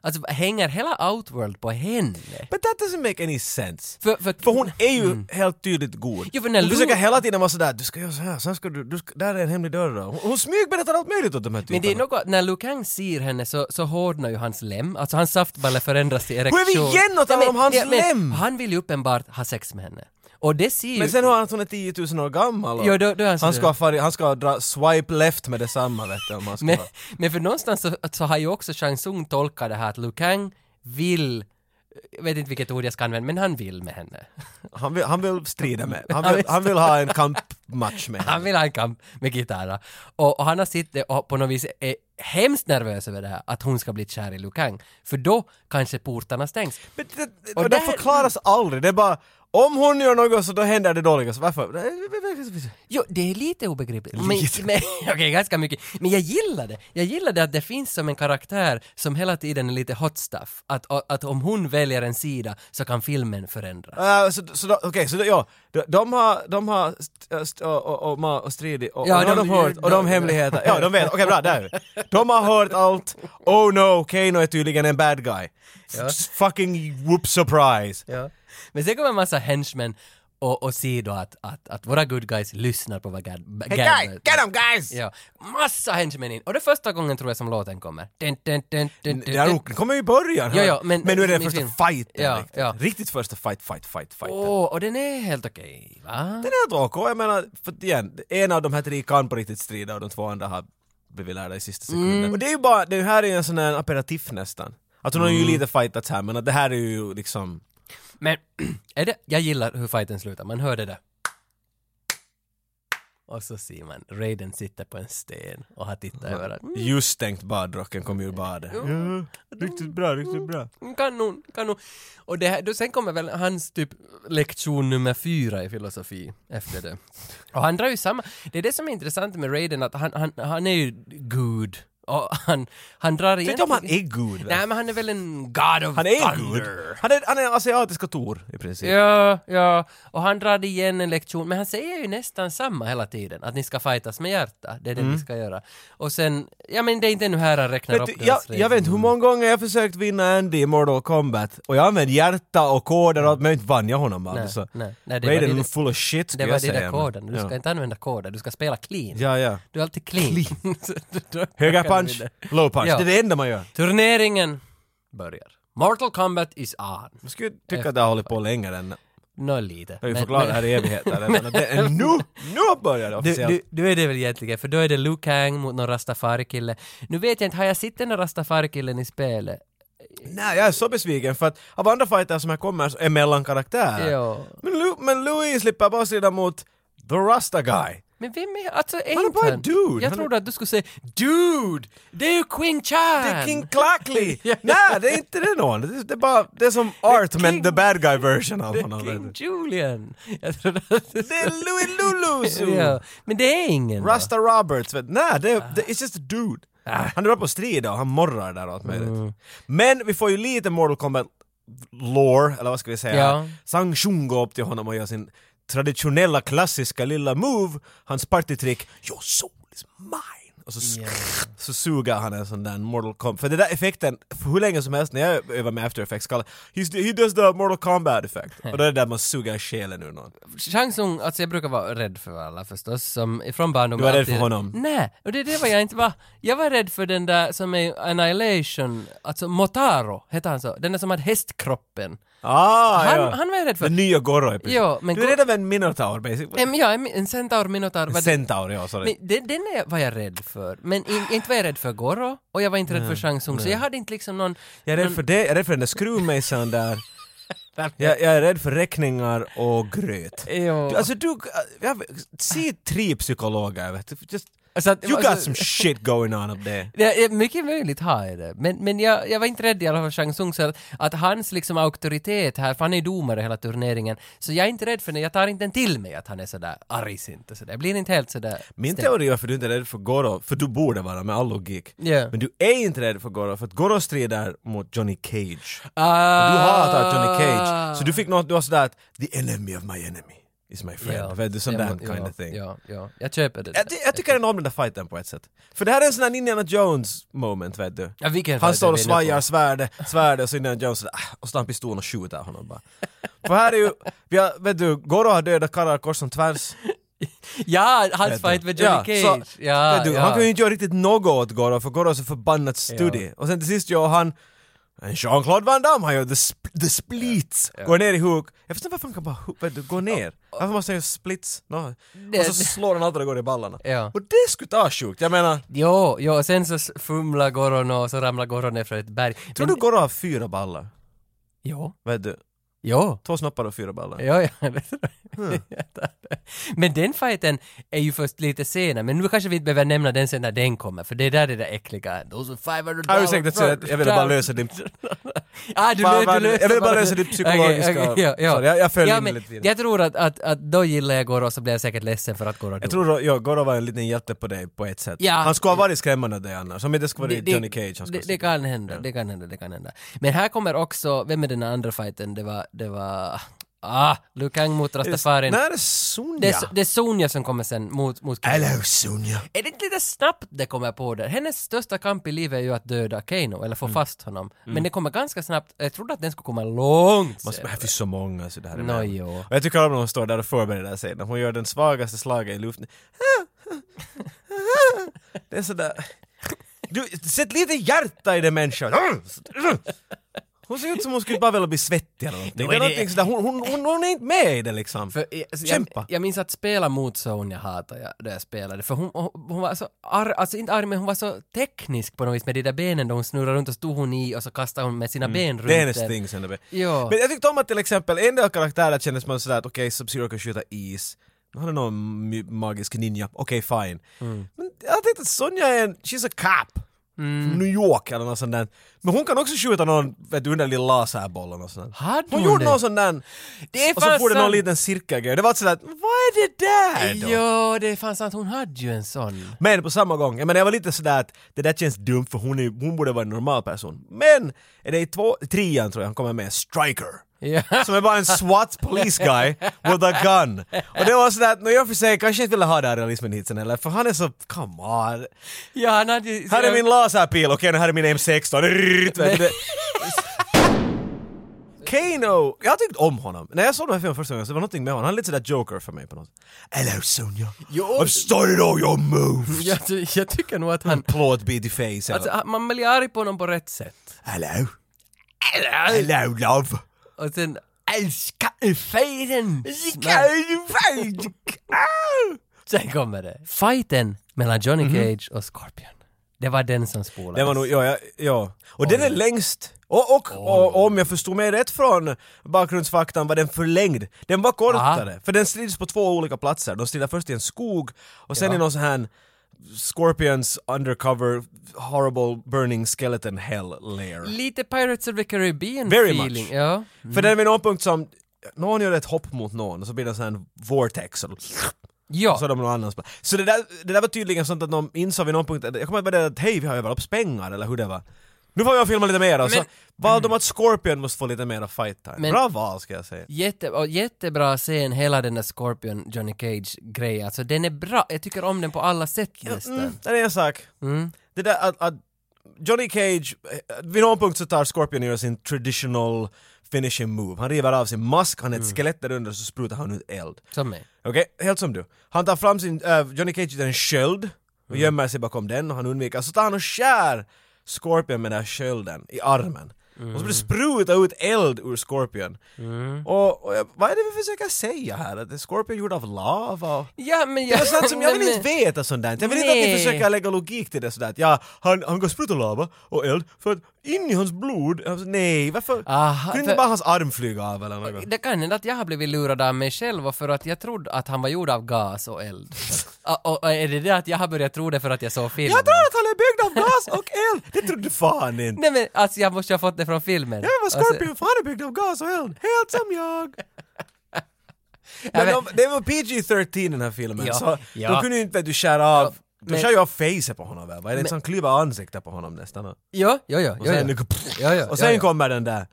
Alltså hänger hela Outworld på henne? But that doesn't make any sense. För, för, För hon är ju helt tydligt god. Jo, för hon när Lu- försöker hela tiden vara sådär, du ska göra så här, sen ska du, du ska, där är en hemlig dörr. då." Hon, hon smygberättar allt möjligt åt de här men typerna. det är något, när Liu Kang ser henne så, så hårdnar ju hans lem, alltså hans saftballe förändras till erektion. Hur är vi igen och talar Nej, om hans ja, lem? Han vill ju uppenbart ha sex med henne. Och det ser ju... Men sen har han att hon är 10 000 år gammal och Ja, då- då är han så- han, ska ha farit, han ska ha dra swipe left med detsamma vet du. Om han ska Men, ha- men för någonstans så, så har ju också Shang Tsung tolkat det här att Liu Kang vill, jag vet inte vilket ord jag ska använda, men han vill med henne. han, vill, han vill strida med, han vill, han vill ha en kampmatch med Han henne. vill ha en kamp med gitarra. Och, och han har suttit och på något vis är hemskt nervös över det här, att hon ska bli kär i Liu Kang. För då kanske portarna stängs. Men det, Och och där- det förklaras aldrig, det är bara om hon gör något så då händer det dåliga, så varför? Jo, det är lite obegripligt. Men, men, Okej, ganska mycket. Men jag gillar det. Jag gillar det att det finns som en karaktär som hela tiden är lite hot stuff. Att, att om hon väljer en sida så kan filmen förändras. Uh, så så då- okej, så då, ja, de, de har, de har st, st, och, och, och, ma- och stridit och, Ja, och de, har de- de hört och de de- hemligheter, ja de vet, okej bra, där De har hört allt, oh no, Kano är tydligen en bad guy. S- Fucking whoop surprise. Ja. Men sen kommer en massa henchmen och, och ser då att, att, att våra good guys lyssnar på vad Gad... Hey them guys! Ja, massa henchmen in. Och det är första gången tror jag som låten kommer. Dun, dun, dun, dun, dun, Det här dun. roken kommer ju i början! Ja, ja, men- nu är det den men första film. fighten Ja, riktigt. ja. Riktigt första fight, fight, fight, fight. Åh, och den är helt okej, va? Den är helt okej, jag menar, för att igen, en av de här tre kan på riktigt strida och de två andra har blivit lärda i sista sekunden. Mm. Och det är ju bara, det här är ju en sån här aperitif nästan. Alltså hon har ju Mm. lite fightats här men att det här är ju liksom... Men, är det, jag gillar hur fighten slutar, man hörde det. där. Och så ser man Raiden sitta på en sten och har tittat över den. Just stängt badrocken kom ur badet. Ja, riktigt bra, riktigt bra. Mm, Kanon, kanon. Och det här, då, sen kommer väl hans typ lektion nummer fyra i filosofi efter det. Och han drar ju samma, det är det som är intressant med Raiden att han, han, han är ju gud. Och han, han drar Jag vet igen. inte om han är good. Nej men han är väl en god of han är thunder. good. Han är, han är asiatiska Tor i princip. Ja, ja. Och han drar igen en lektion, men han säger ju nästan samma hela tiden. Att ni ska fightas med hjärta, det är det ni ska göra. Och sen, ja men det är inte nu här han räknar Mm. Vet upp du, jag, deras liksom- jag vet inte hur många gånger jag försökt vinna Andy i Mortal Kombat och jag använde hjärta och koder och allt men inte vann jag honom Nej, aldrig så... nej, nej, det var Raiden det- är full of shit Det skulle var jag det säga. där men- koden, du ska ja. inte använda koder, du ska spela clean. Ja, ja. Du är alltid clean. Så då- då Höga kan du punch, vinna. low punch. Ja. Det är det enda man gör. Turneringen börjar. Mortal Kombat is on. Jag skulle tycka att det har hållit på längre än... Nå lite. Jag har ju Men- förklarat det men- här i evigheter. Jag menar, det är nu! Nu börjar det Du, officiellt. du, du är det väl egentligen, för då är det Liu Kang mot någon rastafari-kille. Nu vet jag inte, har jag sett den där rastafari-killen i spelet? Nej, jag är så besviken för att av andra fighters som här kommer så är mellankaraktärer. Ja. Men, Lu- men Louis slipper bara strida mot The Rasta Guy. Men vem är Alltså, är är inte bara en dude. Jag Han är- trodde att du skulle säga “Dude! Det är ju Queen Chan!” Det är King Clackley! Nej, det är inte det någon. Det är, det är bara, det är som Art, men King- the bad guy version av Det honom. är King vet Julian! Jag trodde att du du. Det är Louis Lulu! Zoo. Ja, men det är ingen då. Rasta Roberts, vet Nej, det, det it's just a dude. Ah. Han är bra på att strida och han morrar där och allt möjligt. Mm. Men vi får ju lite Mortal Kombat lore, eller vad ska vi säga? Ja. Sang Shun går upp till honom och gör sin traditionella klassiska lilla move, hans partytrick “Your soul is mine” och så, sk- så suger han en sån där Mortal Kombat. För den där effekten, för hur länge som helst när jag övar med After Effects, kallar "He's- “He does the Mortal Kombat effect” och då är det där man suger själen ur någon. Chansung, alltså jag brukar vara rädd för alla förstås, som från barndomen. Du var rädd alltid- för honom? Nej, och det, det var jag inte. Va? Jag var rädd för den där som är Annihilation, alltså Motaro, hette han så? Den där som hade hästkroppen. Ah, han, ja. han var jag rädd för. Den nya Goro i princip. Ja, men du är Go- redan med en minotaur basically. Em, ja, en, en centaur, minotaur. vad- Centaur, ja sorry. Men den, den är, var jag rädd för. Men in, inte var jag rädd för Goro, och jag var inte rädd för Chansung, så jag hade inte liksom någon... jag är rädd för det, jag är rädd för den där skruvmejseln där. jag, jag är rädd för räkningar och gröt. Jo. Du, alltså du, jag, se tre psykologer vet du. Just, Alltså att- you got alltså- some shit going on up there. Det är mycket möjligt har jag det. Men, men jag, jag var inte rädd i alla fall för Shang Tsung, så att, att hans liksom auktoritet här, för han är ju domare hela turneringen, så jag är inte rädd för det. Jag tar inte den till mig att han är sådär argsint och sådär. Jag blir inte helt sådär... Min stämd. teori är för du inte är rädd för Goro, för du borde vara med all logik. Ja. Men du är inte rädd för Goro, för att Goro strider mot Johnny Cage. Ah. Du hatar Johnny Cage. Så du fick något, du var sådär att “the enemy of my enemy is my friend”. Vet du, sån Ja, där men- kind ja, of thing. Ja, ja. Jag köper det. Jag, ty- jag tycker ändå om den där fighten på ett sätt. För det här är en sån här Indiana Jones moment vet du. Ja, vilken han fight är står och vi inne svajar på? svärdet, svärdet och så Indiana Jones sådär, ah, och så tar han pistolen och skjuter honom bara. För här är ju, vi har, vet du, Goro har dödat karlar kors och tvärs. ja, vet hans du. fight med Johnny så- Cage. ja, vet du, ja. Han kan ju inte göra riktigt något åt Goro för Goro är så förbannat studig. Och sen till sist gör han en Jean-Claude Van Damme han gör the, sp- the splits, går ner i huk. Jag förstår inte varför han kan bara hu- vet du, gå ner. Varför måste han göra splits? No. Och Det- så slår han allt vad det går i ballarna. Ja. Och det skulle ta sjukt, jag menar Jo, jo, och sen så s- fumlar Goron och så ramlar Goron ner för ett berg. Tror du Goro har fyra ballar? Jo, Vet du? jo. Två snoppar och fyra ballar. Ja, ja. det tror jag. Hmm. men den fighten är ju först lite senare, men nu kanske vi inte behöver nämna den sen när den kommer, för det är där det där äckliga... Those are 500 Jag har ursäktat så jag ville bara lösa din... Ah, du, Fan, lö- vad- du löser jag vill bara lösa ditt Okej, psykologiska- okej, ja, ja. Sorry, jag- jag föll in men lite i det. Jag tror att, att, att då gillar jag Goro så blir jag säkert ledsen för att Goro dog. Jag tror ja, Goro var en liten hjälte på dig på ett sätt. Ja. Han skulle ha varit skrämmande dig annars. Om inte det skulle vara Johnny Cage. Han skulle det, det kan hända, det kan hända, det kan hända. Men här kommer också, vem är den andra fighten? Det var, det var... Ah, Liu Kang mot Rastafarin. Nej, det är Det är, Sonja. S- det är Sonja som kommer sen mot... mot Kano. Hello Sonja. Är det inte lite snabbt det kommer på det? Hennes största kamp i livet är ju att döda Kano, eller få Mm. fast honom. Men det kommer ganska snabbt. Jag trodde att den skulle komma långt Måste, senare. här finns så många så det här är Nå, med. jo. Och jag tycker om när hon står där och förbereder sig. När hon gör den svagaste slaget i luften. Det är sådär... Du, sätt lite hjärta i den människan! Hon ser ut som hon skulle bara vilja bli svettig eller någonting. Det är någonting sådär, hon, hon, hon, hon är inte med i det liksom. För, jag, alltså, Kämpa. Jag, jag minns att spela mot Sonja hatade jag då jag spelade, för hon, hon, hon var så arg, alltså inte arg men hon var så teknisk på något vis med de där benen då hon snurrade runt och stod hon i och så kastade hon med sina ben runt Mm. Det är hennes den. thing sen. det blir- Ja. Men jag tyckte om att till exempel en del karaktärer kändes man sådär att okej, Sub-Zero kan skjuta is. Han är någon my- magisk ninja, okej fine. Mm. Men jag tänkte att Sonja är en, she's a cop. Mm. Från New York eller något sånt där. Men hon kan också skjuta någon, vet du, underlig laserboll eller något sånt där. Hade Hon hon gjorde det? någon sån där, Det är och så fan får det någon sant. liten cirkelgrej. Det var sådär, vad är det där då? Ja, det fanns att hon hade ju en sån. Men på samma gång, jag menar jag var lite sådär att det där känns dumt för hon, är, hon borde vara en normal person. Men är det i två, trean tror jag han kommer med, Striker. Ja. Som är bara en SWAT police guy with a gun. Och det var sådär att, när jag för sig kanske inte ville ha den här realismen hit sen eller för han är så, come on. Ja, han hade ju... Här är min laserpil, okej nu här är min M16. Rrrt, vet du, det- Kano, jag tyckte om honom. När jag såg den här filmen första gången så var någonting med honom, han är lite sådär Joker för mig på något sätt. Hello Sonja, I've started all your moves! jag, ty- jag tycker nog att Mm. han... Plåtbit i face. Alltså, han- man blir arg på honom på rätt sätt. Hello? Hello love! Och sen... Älska i fejden! Sen kommer det. Fighten mellan Johnny Cage och Scorpion. Det var den som spolades. Mhm. Det var nog, ja, ja, ja. Och den är längst. Och, och, och om jag förstod mig rätt från bakgrundsfaktan var den förlängd. Den var kortare, för den strids på två olika platser. De strider först i en skog och sen i någon sån här Scorpions undercover horrible burning skeleton hell lair. Lite Pirates of the Caribbean Very feeling. much. Ja. För den är vid någon punkt som någon gör ett hopp mot någon och så blir det en sån här vortex och Ja. så är de någon annans plats. Så det där, det där var tydligen sånt att de insåg vid någon punkt, att- jag kommer inte ihåg att hej vi har övat upp pengar eller hur det var. Nu får jag filma lite mer och så Men- valde de att Scorpion måste få lite mera fight time. Men- Bra val ska jag säga. Jätte, och jättebra scen, hela den där Scorpion Johnny Cage-grejen. Alltså den är bra, jag tycker om den på alla sätt nästan. Mm, det är en sak. Mm. Det där att, att Johnny Cage, eh, vid någon punkt så tar Scorpion och gör sin traditional finishing move. Han river av sin mask, han är ett Mm. skelett där under så sprutar han ut eld. Som mig. Okej, helt som du. Han tar fram sin, eh, Johnny Cage tar en sköld och Mm. gömmer sig bakom den och han undviker, så tar han och skär Scorpion med den här skölden i armen. Och så blir det Mm. spruta ut eld ur Scorpion. Och, och jag- vad är det vi försöker säga här? Att är Scorpion gjord av lava? Och... Ja men Det jag... är sånt som jag vill men- inte veta sånt där. Jag vill inte att ni Nej. försöker lägga logik till det sådär. att Ja, han, han går spruta lava och eld för att in i hans blod... Jag bara, Nej, varför? Aha, Kunde för- inte bara hans arm flyga av eller något? Det kan hända att jag har blivit lurad av mig själv och för att jag trodde att han var gjord av gas och eld. och, och, och är det det att jag har börjat tro det för att jag såg filmen? Jag tror att han är byggd av gas och eld! Det trodde du fan inte! Nej men alltså jag måste ju ha fått det från filmen. Alltså, Jag var Scorpion, för han är byggd av gas och eld! Helt som jag! Men men- de, det var PG-13 den här filmen, Ja, så ja. de kunde ju inte du skära av... Du men- skär ju av facet på honom väl? Vad är det inte som kliver ansiktet på honom nästan? Och Ja, ja, ja. ja, sen, ja. Ja, ja, och sen ja, ja. kommer den där...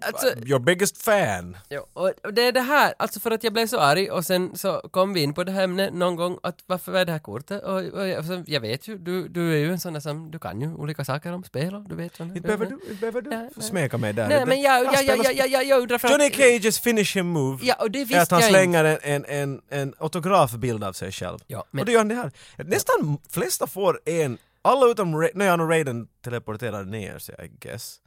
Alltså, Mm-hmm. Your biggest fan. Ja, och det är det här, alltså för att jag blev så arg och sen så kom vi in på det här ämnet någon gång att varför var det här kortet? Och, och jag, så jag vet ju, du, du är ju en sån där som, du kan ju olika saker om spel och du vet sådana. Inte behöver du, inte behöver Nej, du nej. smeka mig där. Nej Det- men jag, han jag, jag, spelar- jag, jag, jag, jag undrar för Johnny Cages finishing move Ja, och det är att visste han jag slänger en, en, en, en autografbild av sig själv. Ja, men- Och det gör han det här. Nästan flesta får en, alla utom Ra- nej, han och Raiden teleporterar ner sig I guess.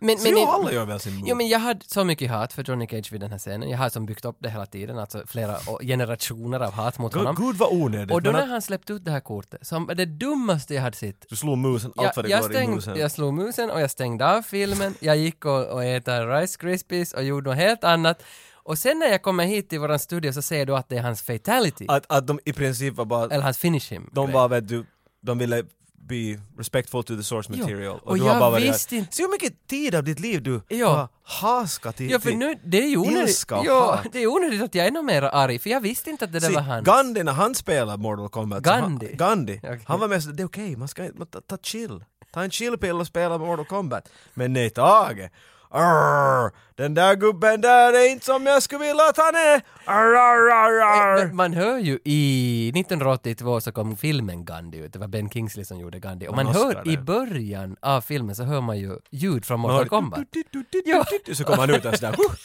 Men, Så men, jo, alla gör väl sin move. Jo men jag hade så mycket hat för Johnny Cage vid den här scenen. Jag har som byggt upp det hela tiden, alltså flera å- generationer av hat mot Gud, honom. Gud vad onödigt. Och då men när att han släppte ut det här kortet, som var det dummaste jag hade sett du slår musen allt jag, vad det jag, går i musen. stängde, jag slog musen och jag stängde av filmen, jag gick och, och äter Rice Krispies och gjorde något helt annat. Och sen när jag kommer hit till våran studio så ser du att det är hans fatality, Att, att de i princip var bara, eller hans finish him. de var vet du, de ville be respectful to the source material. och du har jag bara varit där. visste inte- Se hur mycket tid av ditt liv du Ja. har haskat i. Ja, för i- nu, det är ju onödigt, Ilska och ja, hat. det är onödigt att jag är nog mer arg, för jag visste inte att det där Se, var han. Gandhi när han spelade Mortal Kombat, så Gandhi? Han, Gandhi Okej. han var mest det är okej, man ska inte, man, ta, ta chill. Ta en chillpill och spela Mortal Kombat. Men nej Tage! Arr, den där gubben där är inte som jag skulle vilja att han är! Arr, arr, arr, Eh, Men arr. Man hör ju i 1982 så kom filmen Gandhi ut, det var Ben Kingsley som gjorde Gandhi, och man Man hör måste det. i början av filmen så hör man ju ljud från Man hör- Mortal Kombat. Ja. Så kommer han ut där sådär. huh.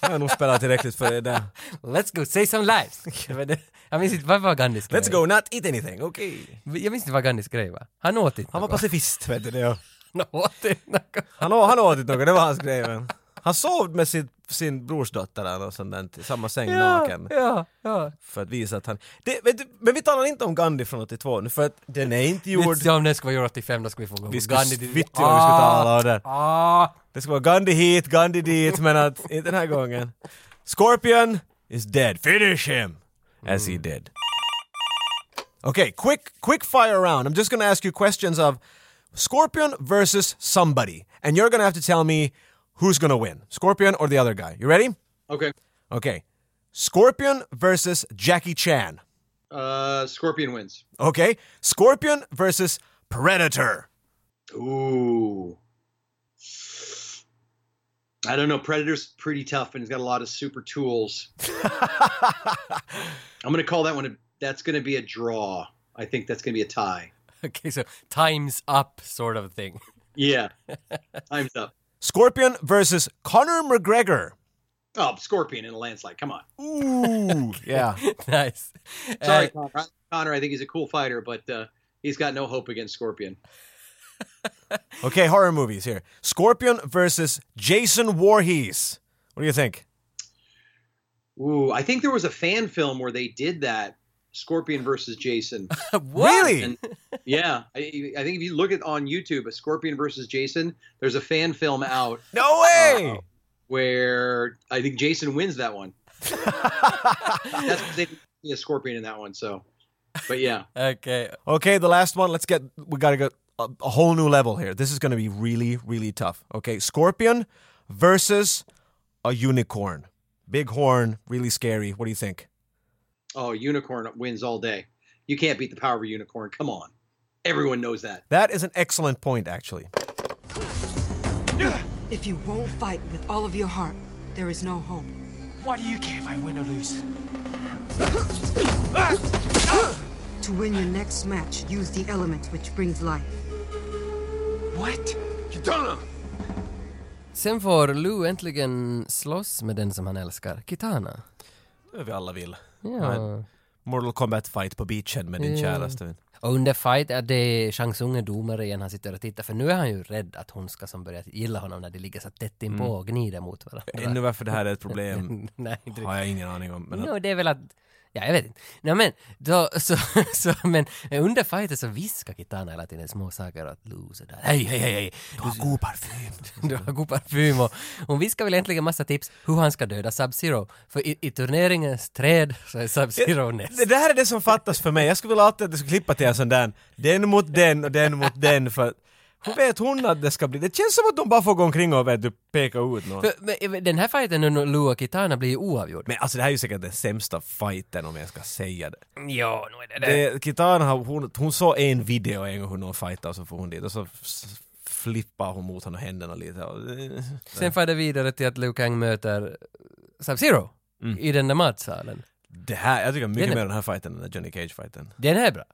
Jag har nog spelat tillräckligt för det där. Let's go, say some lies! Det var det- jag minns inte, vad var Gandhis grej? Let's go, not eat anything, okej. Jag minns inte vad Gandhis grej var. Han åt inte Han var något. pacifist, vet du det. Han åt inte något. Han, å- han åt inte något, det var hans grej. men. Han sov med sin, sin brorsdotter där och sånt där, i samma säng naken. Ja, ja. för att visa att han... Det, vet du, men vi talar inte om Gandhi från 82 nu för att den är inte gjord... Vet du, om den skulle vara gjord 85 då skulle vi få gå Vi på skulle Gandhi. vittu om vi skulle tala om det. Ah, Det ska vara Gandhi hit, Gandhi dit, men att inte den här gången. Scorpion is dead. Finish him! As he did. Okay, quick, quick fire round. I'm just gonna ask you questions of Scorpion versus somebody. And you're gonna have to tell me who's gonna win. Scorpion or the other guy. You ready? Okay. Okay. Scorpion versus Jackie Chan. Uh, Scorpion wins. Okay, Scorpion versus Predator. Ooh. I don't know. Predator's pretty tough, and he's got a lot of super tools. I'm going to call that one. A, that's going to be a draw. I think that's going to be a tie. Okej, så times up sort of thing. Yeah, time's up. Scorpion versus Conor McGregor. Oh, Scorpion in a landslide. Come on. Ooh, yeah. nice. Sorry, Eh, Connor. I- Connor. I think he's a cool fighter, but uh, he's got no hope against Scorpion. Okay, horror movies here. Scorpion versus Jason Voorhees. What do you think? Ooh, I think there was a fan film where they did that, Scorpion versus Jason. What? Really? And- yeah, I, I think if you look at on YouTube, a Scorpion versus Jason, there's a fan film out uh, no way! where I think Jason wins that one. That's 'cause they didn't see a scorpion in that one, so. But yeah, Okay. Okay, the last one. Let's get. We gotta go a, a whole new level here. This is gonna be really, really tough. Okay, scorpion versus a unicorn. Big horn, really scary. What do you think? oh, unicorn wins all day. You can't beat the power of a unicorn. Come on, everyone knows that. That is an excellent point, actually. If you won't fight with all of your heart, there is no hope. Why do you care if I win or lose? To win your next match, use the element which brings life. What? Sen får Lou äntligen slåss med den som han älskar, Kitana. Det vi alla vill. Ja. Mm. Men Mortal Kombat fight på beachen med din Ja. käraste. Och under fight är det Shang Tsung är domare igen, han sitter och tittar för nu är han ju rädd att hon ska som börja gilla honom när de ligger så tätt inpå och gnider mot varandra. Mm. Ännu varför det här är ett problem Nej, inte har jag ingen aning om. Men No, det är väl att... Ja, jag vet inte. Nej men, då, så, så, men under fighten så viskar Kitana hela tiden små saker åt Lou sådär. Hej, hej, hej, hej! Du har god parfym! du har god parfym och hon viskar väl egentligen massa tips hur han ska döda Sub-Zero. För i, i turneringens träd så är Sub-Zero näst. Det det här är det som fattas för mig. Jag skulle vilja alltid att det skulle klippa till en sån där den mot den och den mot den för hur vet hon att det ska bli? Det känns som att de bara får gå omkring och vet, du, peka ut någon. För, men, men den här fighten nu Lou och Kitana blir ju oavgjord. Men alltså det här är ju säkert den sämsta fighten om jag ska säga det. Ja, nu är det det. det Kitana, har- hon, hon såg en video en gång hur någon fightar och så får hon dit och så f- flippar hon mot honom händerna lite. Och, Sen far det vidare till att Liu Kang möter Sub-Zero i den där matsalen. det här, jag tycker mycket Den är- mer om den här fighten än den Johnny Cage-fighten. Den här är bra.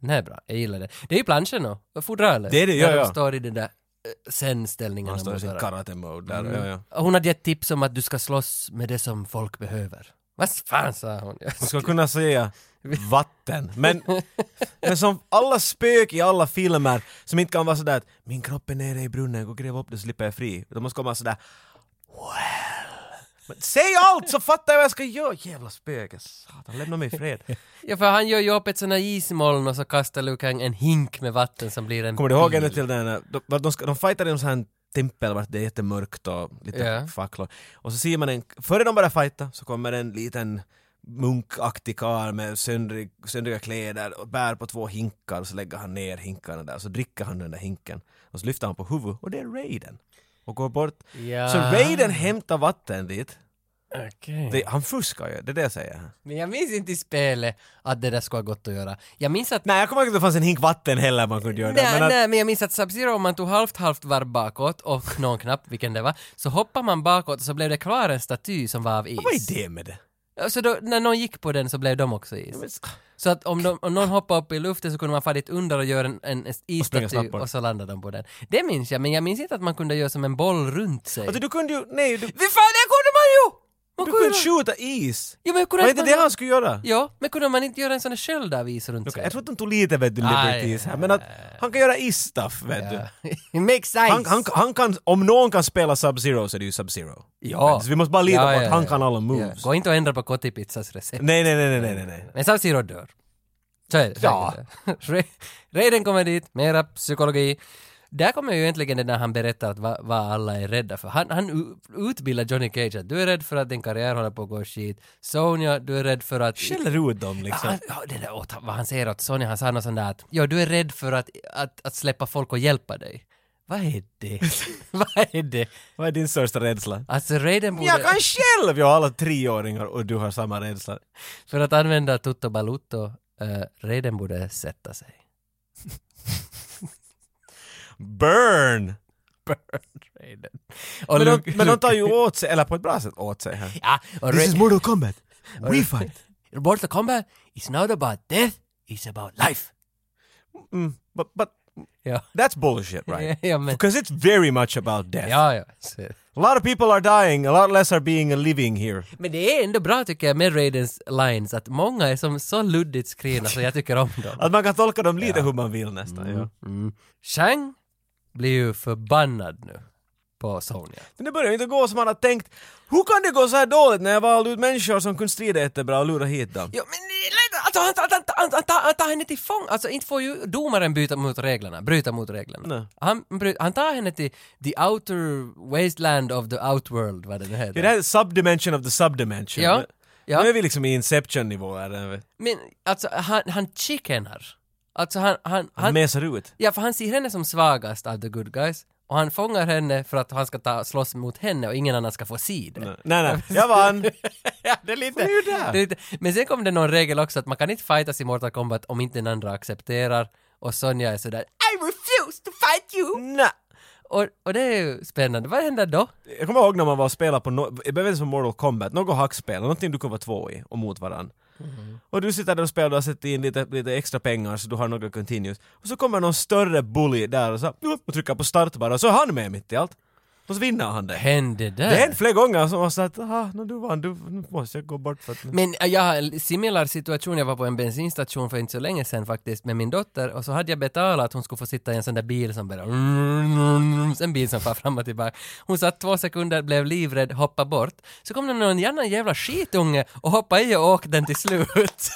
Den här är bra. Jag gillar det. Det är ju planschen och fodralet. Mm. Det är det, ja, Där ja. de står i den där eh, sen-ställningen. Han står i mot sin varandra. karate-mode där. Mm. Ja, ja. Och Hon hade gett tips om att du ska slåss med det som folk behöver. Vad fan sa hon? Man ska kunna säga vatten. Men, men som alla spök i alla filmer som inte kan vara sådär att min kropp är nere i brunnen, gå och gräv upp den så slipper jag fri. De måste komma sådär well. Men säg allt så fattar jag vad jag ska göra! Jävla spöke, satan, lämna mig i fred. Ja, för han gör ju upp ett sånt här ismoln och så kastar Liu Kang en hink med vatten som blir en Kommer du ihåg bil. ännu till den här, de, vad de, ska, de fightar i en sån här tempel vart det är jättemörkt och lite Ja. facklor. Och så ser man en, före de börjar fighta så kommer en liten munkaktig karl med söndrig, söndriga kläder och bär på två hinkar och så lägger han ner hinkarna där och så dricker han den där hinken och så lyfter han på huvudet och det är Raiden och går bort. Ja. Så Raiden hämtar vatten dit. Okej. Det, han fuskar ju, det är det jag säger. Men jag minns inte i spelet att det där skulle ha gått att göra. Jag minns att Nej, jag kommer inte ihåg att det fanns en hink vatten heller man kunde göra. Nej, men att, nej, men jag minns att Sub-Zero, om man tog halvt halvt varv bakåt och någon knapp, vilken det var, så hoppar man bakåt och så blev det kvar en staty som var av is. Vad är det med det? Ja, Så Alltså då, när någon gick på den så blev de också is. Så att om, de, om någon hoppade upp i luften så kunde man fara dit under och göra en, en springa isstaty snabbt och, bort. så landade de på den. Det minns jag, men jag minns inte att man kunde göra som en boll runt sig. Alltså, du kunde ju, nej, du, Vad fan, det kunde man ju! Man du kunde göra- skjuta is! Jo, men kunde Var inte inte det man- han skulle göra? Ja, men kunde man inte göra en sån där sköld av is runt sig? Jag tror att de tog lite vet du, liberties Aj, här, men att han kan göra is-stuff vet du. Ja. Make sense! Han, han, han kan, om någon kan spela Sub-Zero så är det ju Sub-Zero. Ja. Så vi måste bara lita Ja, på att ja, han ja. kan alla Ja, moves. Gå inte och ändra på Kottipizzas recept. Nej, nej, nej, nej, nej, nej, nej. Men Sub-Zero dör. Så är det. Ja. Ra- Raiden kommer dit, mera psykologi. Där kommer ju egentligen det när han berättar att vad vad alla är rädda för. Han, han u- utbildar Johnny Cage att du är rädd för att din karriär håller på att gå skit. Sonja, du är rädd för att... Skäller ut dem liksom. Han, ja, det där, åt, vad han säger åt Sonja, han sa något sånt där att ja, du är rädd för att, att, att släppa folk och hjälpa dig. Vad är det? vad är det? Vad är din största rädsla? Alltså Raiden borde... Jag kan själv! Jag har alla treåringar och du har samma rädsla. För att använda Tutto Balutto, uh, Raiden borde sätta sig. Burn! Raiden. Och Men de, Luke- men de Luke- tar ju åt sig, eller på ett bra sätt åt sig här. Ja, och This is Ra- Mortal Kombat! We fight! Mortal Kombat is not about death, it's about life. Mm, but, but Ja, that's bullshit right? ja men... Because it's very much about death. Ja, ja. så- A lot of people are dying, a lot less are being living here. Men det är ändå bra tycker jag med Raidens lines att många är som så luddigt skrivna så jag tycker om dem. Att man kan tolka dem lite hur man vill nästan. Mm. Ja. Shang blir ju förbannad nu på Sonja. Men det börjar ju inte gå som man har tänkt. Hur kan det gå så här dåligt när jag valde ut människor som kunde strida jättebra och lura hit dem? Jo men det är lite- Alltså han, han, han, han, tar- han tar henne till fång. Alltså inte får ju domaren byta mot reglerna, bryta mot reglerna. Nej. Han, bry- han tar henne till the outer wasteland of the outworld, vad det nu Det heter. där är subdimension of the subdimension. Ja, ja. Nu är vi liksom i inception-nivå här. Han, Men alltså han, han chickenar. Alltså han, han, han han, mesar ut. ja för han ser henne som svagast av the good guys. Och han fångar henne för att han ska ta, slåss mot henne och ingen annan ska få se det. Nej, nej, jag vann! ja, det är lite... är ju det. är lite- Men sen kom det någon regel också att man kan inte fightas i Mortal Kombat om inte den andra accepterar. Och Sonja är sådär I refuse to fight you! Nej. Och, och det är ju spännande. Vad händer då? Jag kommer ihåg när man var och spelade på, no- jag behöver inte som Mortal Kombat, något hackspel, någonting du kunde vara två i och mot varann. Mm-hmm. Och du sitter där och spelar och har sett in lite, lite extra pengar så du har några continues. Och så kommer någon större bully där och så, och trycker på start bara och så är han med mitt i allt. Och så vinner han det. Hände det? Det har hänt flera gånger som har sagt aha, no, du vann, du, nu måste jag gå bort för att... Men äh, jag har en similar situation, jag var på en bensinstation för inte så länge sedan faktiskt med min dotter och så hade jag betalat att hon skulle få sitta i en sån där bil som bara en bil som far fram och tillbaka. Hon satt två sekunder, blev livrädd, hoppade bort. Så kom det någon annan jävla skitunge och hoppade i och åkte den till slut.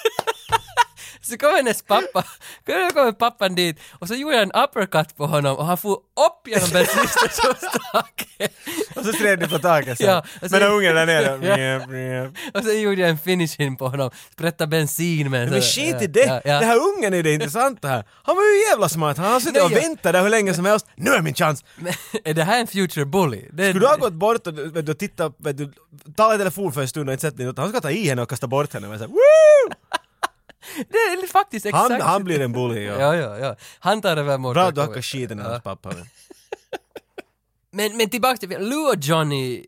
Så kom hennes pappa, då kom pappan dit och så gjorde jag en uppercut på honom och han for upp genom bensinstationstaket. Och så stred ni på taket sen. Ja, och sen- Men ungen där nere. Ja. mjäp, mjäp. Och sen gjorde jag en finish in på honom, sprättade bensin med en Men sån- shit ja, i det! ja, ja. Det här ungen är det intressanta här. Han var ju jävla smart, han har suttit Nej, och jag- väntat där hur länge som helst. Nu är min chans! Men är det här en future bully? Det, Skulle du ha gått bort och vet du, titta, vet du, tala i telefon för en stund och inte sett något, han ska ta i henne och kasta bort henne men så här, woo! Det är faktiskt exakt... Han, han blir en bully ja. Ja, ja, ja. Han tar över Mortal Bra att du hackar Kombat. skiten i hans pappa. men. Men, men tillbaka till... Lou och Johnny...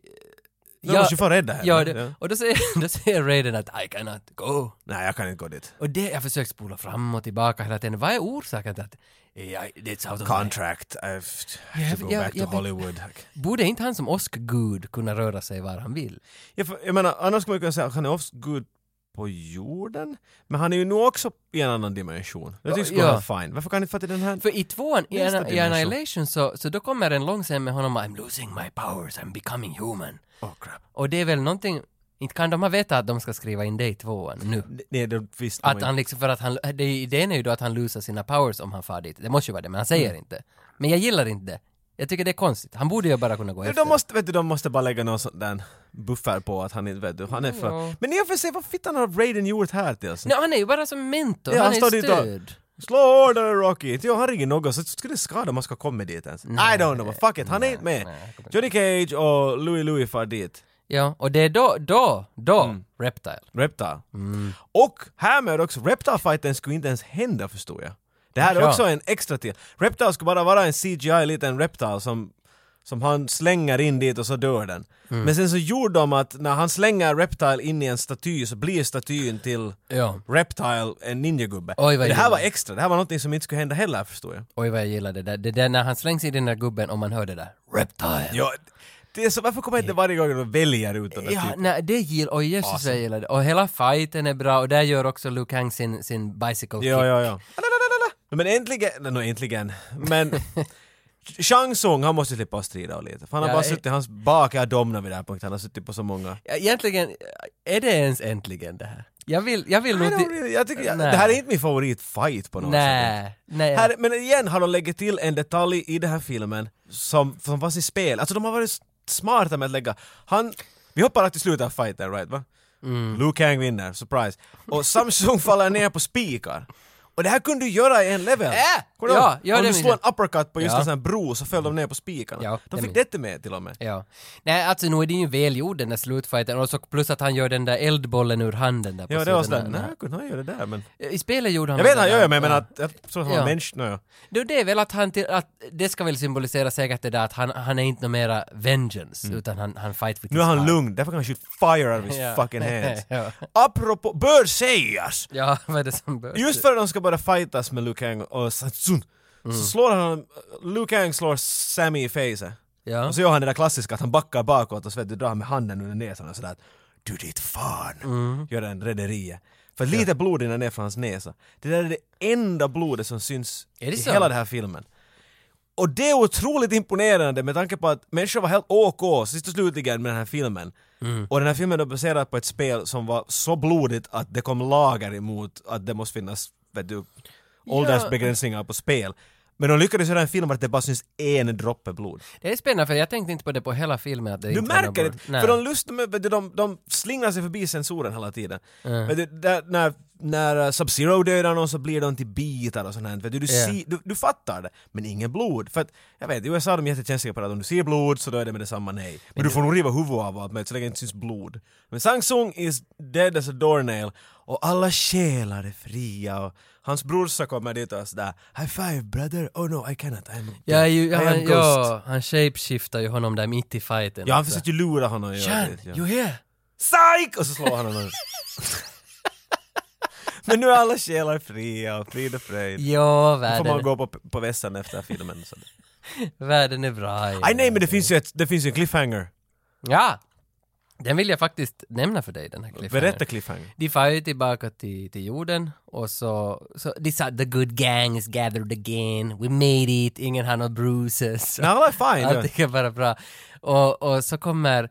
De måste ju få rädda henne. Ja, det, och då säger, då säger Raiden att I cannot go. Nej, jag kan inte gå dit. Och det, jag försöker spola fram och tillbaka hela tiden. Vad är orsaken till att... Yeah, it's out of my- Contract, I have Ja, to go ja, back to ja, men- Hollywood. Borde inte han som åskgud kunna röra sig var han vill? Jag, får- jag menar, annars skulle man kunna säga att han är också good på jorden, men han är ju nog också i en annan dimension. Jag tycker Ja. ja. att fine. Varför kan han inte fatta den här? För i tvåan, i, Nästa Anna, i dimension. Annihilation, så, så då kommer en lång scen med honom I'm losing my powers, I'm becoming human. Åh, crap. Och det är väl någonting, inte kan de ha vetat att de ska skriva in det i tvåan nu? Nej, det visste man Att inte. han liksom, för att han, det, idén är ju då att han losar sina powers om han far dit. Det måste ju vara det, men han Mm. säger inte. Men jag gillar inte det. Jag tycker det är konstigt. Han borde ju bara kunna gå Men efter. De måste, vet du, de måste bara lägga någon sån där buffer på att han inte, vet du, han är för... Ja. Men i och för sig, vad fittan har Raiden gjort här till oss? Nej, han är ju bara som mentor, Ja, han, han står är ju dit och- stöd. Slå order Rocky! Inte jag har ingen något, så skulle det skada om man ska komma dit ens. I don't know, fuck it, han är inte med. Johnny Cage och Louis Louis far dit. Ja, och det är då, då, då, Mm. Reptile. Reptar. Mm. Och här med också, Reptar-fighten skulle inte ens hända förstår jag. Det här är Ja. också en extra till. Reptar skulle bara vara en CGI liten Reptar som, som han slänger in dit och så dör den. Mm. Men sen så gjorde de att när han slänger Reptile in i en staty så blir statyn till Ja. Reptile en ninjagubbe. Oj, vad det här illa. var extra, det här var någonting som inte skulle hända heller förstår jag. Oj vad jag gillar det där. Det där när han slängs i den där gubben och man hör det där. Reptile. Ja, det är så, varför kommer jag inte varje gång de väljer ut den där Ja, typen? nej, det gillar, och jösses vad jag gillar det. Och hela fighten är bra och där gör också Luke Hang sin, sin bicycle kick. Ja, ja, ja. Men äntligen, nej, nå, äntligen, men Shang Tsung, han måste slippa strida och lite. För han har Ja, bara eh. suttit, hans bak är domna vid den här punkten, han har suttit på så många. Ja, Egentligen, är det ens äntligen det här? Jag vill, jag vill I nog don't till- really- Jag tycker, jag, det Nej. här är inte min favoritfight på något sätt. Nej, nej. Här, men igen har de lägger till en detalj i den här filmen som, som fanns i spel. Alltså de har varit smarta med att lägga... Han... Vi hoppar till slutet av fighten, right? Va? Mm. Liu Kang vinner, surprise. Och Samsung faller ner på spikar. Och det här kunde du göra i en level. Äh! Kommer du Ja, ihåg? ja, det Om du minns slår jag. en uppercut på just Ja. en sån här bro så föll de ner på spikarna. Ja, de det fick minns det med till och med. Ja. Nej, alltså nu är den ju välgjord den där slutfighten och så plus att han gör den där eldbollen ur handen där på Ja, det var slutet. sådär, nej, kunde han göra det där? Men... I spelet gjorde han Jag väl vet han det gör där. det, men jag menar Ja. att, jag tror att han var Ja. människa. nå, Ja. Då det är väl att han till, att det ska väl symbolisera säkert det där att han, han är inte någon mera vengeance utan han, han fight with Mm. Nu är his han heart. lugn, därför kan han shoot fire out of his Ja. fucking hands. Ja. Apropå, bör sägas! Ja, vad är det som bör... Just för att de ska börja fightas med Liu Kang och Satsun så slår han, Liu Kang slår Sammy i facet. Ja. Och så gör han det där klassiska att han backar bakåt och så vet du, drar han med handen under näsan och sådär att, du ditt fan, gör en rederiet. För lite blod rinner ner från hans näsa. Det där är det enda blodet som syns Är det i så? hela den här filmen. Och det är otroligt imponerande med tanke på att människor var helt OK sist och slutligen med den här filmen. Mm. Och den här filmen är baserad på ett spel som var så blodigt att det kom lagar emot att det måste finnas, vet du, åldersbegränsningar på spel. Men de lyckades göra en film att det bara syns en droppe blod. Det är spännande för jag tänkte inte på det på hela filmen att det Du inte var märker något- det! Nej. För de, lust, de, de, de slingrar sig förbi sensoren hela tiden. Vet du, där, när, när eh, Sub-Zero dödar någon så blir de till bitar och sånt här. Vet du, du, Ja. ser- du, du fattar det, men ingen blod. För att, jag vet, i USA är de jättekänsliga på det att om du ser blod så då är det med detsamma nej. Men, du får nog riva huvudet av allt möjligt så länge det inte syns blod. Men Sangsung is dead as a doornail och alla själar är fria och hans brorsa kommer dit och är sådär High five brother, oh no I cannot, I'm a- Ja, ju, I am han, ghost. ja, han shapeshiftar ju honom där mitt i fighten. Ja, han också. försökte ju lura honom. Ja, Chan, det- ja. you here? Psyk! Och så slår han honom. Men nu är alla själar fria och frid och fröjd. Ja, Nu får man världen, gå på, på vässan efter filmen. Så. världen är bra. Aj, nej, men det finns ju, ett, det finns ju en cliffhanger. Ja! Den vill jag faktiskt nämna för dig, den här cliffhangern. Berätta cliffhanger. De far ju tillbaka till, till jorden och så, så de sa the good gang is gathered again, we made it, ingen har några bruises. Nej, alla är fine. Allting är bara bra. Och, och så kommer...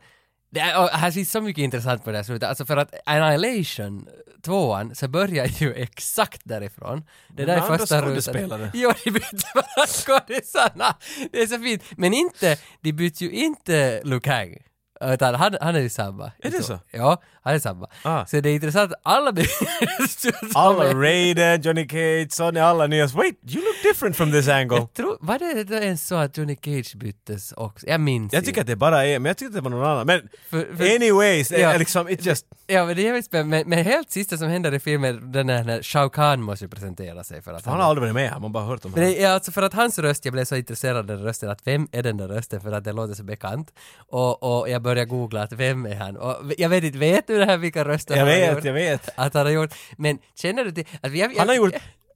Det är, och här finns så mycket intressant på det här slutet. Alltså för att Annihilation, tvåan, så börjar ju exakt därifrån. Det där är Men andra första skådespelare. Jo, de bytte bara skådisarna. Det är så fint. Men inte, de bytte ju inte Luke Hang. Utan han, han är ju samma. Är det så? Ja, han är samma. Ah. Så det är intressant, alla byter Alla Raiden, Johnny Cage, Sonny, alla nya. Wait, you look different from this angle. Jag tror, var det då ens så att Johnny Cage byttes också? Jag minns Jag inte. tycker att det bara är, men jag tycker att det var någon annan. Men För- för- anyways, det Ja. är liksom, it just... Ja men det är jävligt spännande, men, men helt sista som händer i filmen, den där när Shao Kahn måste ju presentera sig för att Han har aldrig varit med här, man bara hört om men honom. det, är alltså för att hans röst, jag blev så intresserad av den rösten, att vem är den där rösten för att det låter så bekant. Och, och jag började googla att vem är han? Och jag vet inte, vet du det här vilka röster Jag han har vet, gjort? jag vet. Att han har gjort, men känner du till, att vi, jag, Han har gjort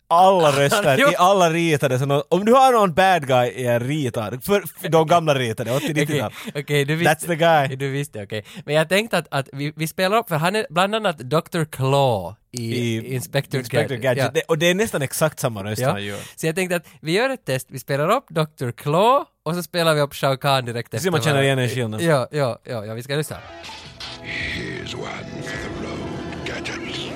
alla röster gjort- i alla ritade. Så nå- om du har någon bad guy i en ritad, för, för de gamla ritade, 80-90-tal. Okej, okej, du visste. That's the guy. Du visste, okej. Men jag tänkte att, att vi, vi spelar upp, för han är bland annat Dr. Claw i, Inspector, Inspector Gadget. Ja. Det, och det är nästan exakt samma röst han gör. Så jag tänkte att vi gör ett test, vi spelar upp Dr. Claw och så spelar vi upp Shao Kahn direkt efter Se om man känner varandra. igen en skillnad. Ja, ja, ja, ja, vi ska lyssna. Here's one for the road, gadgets.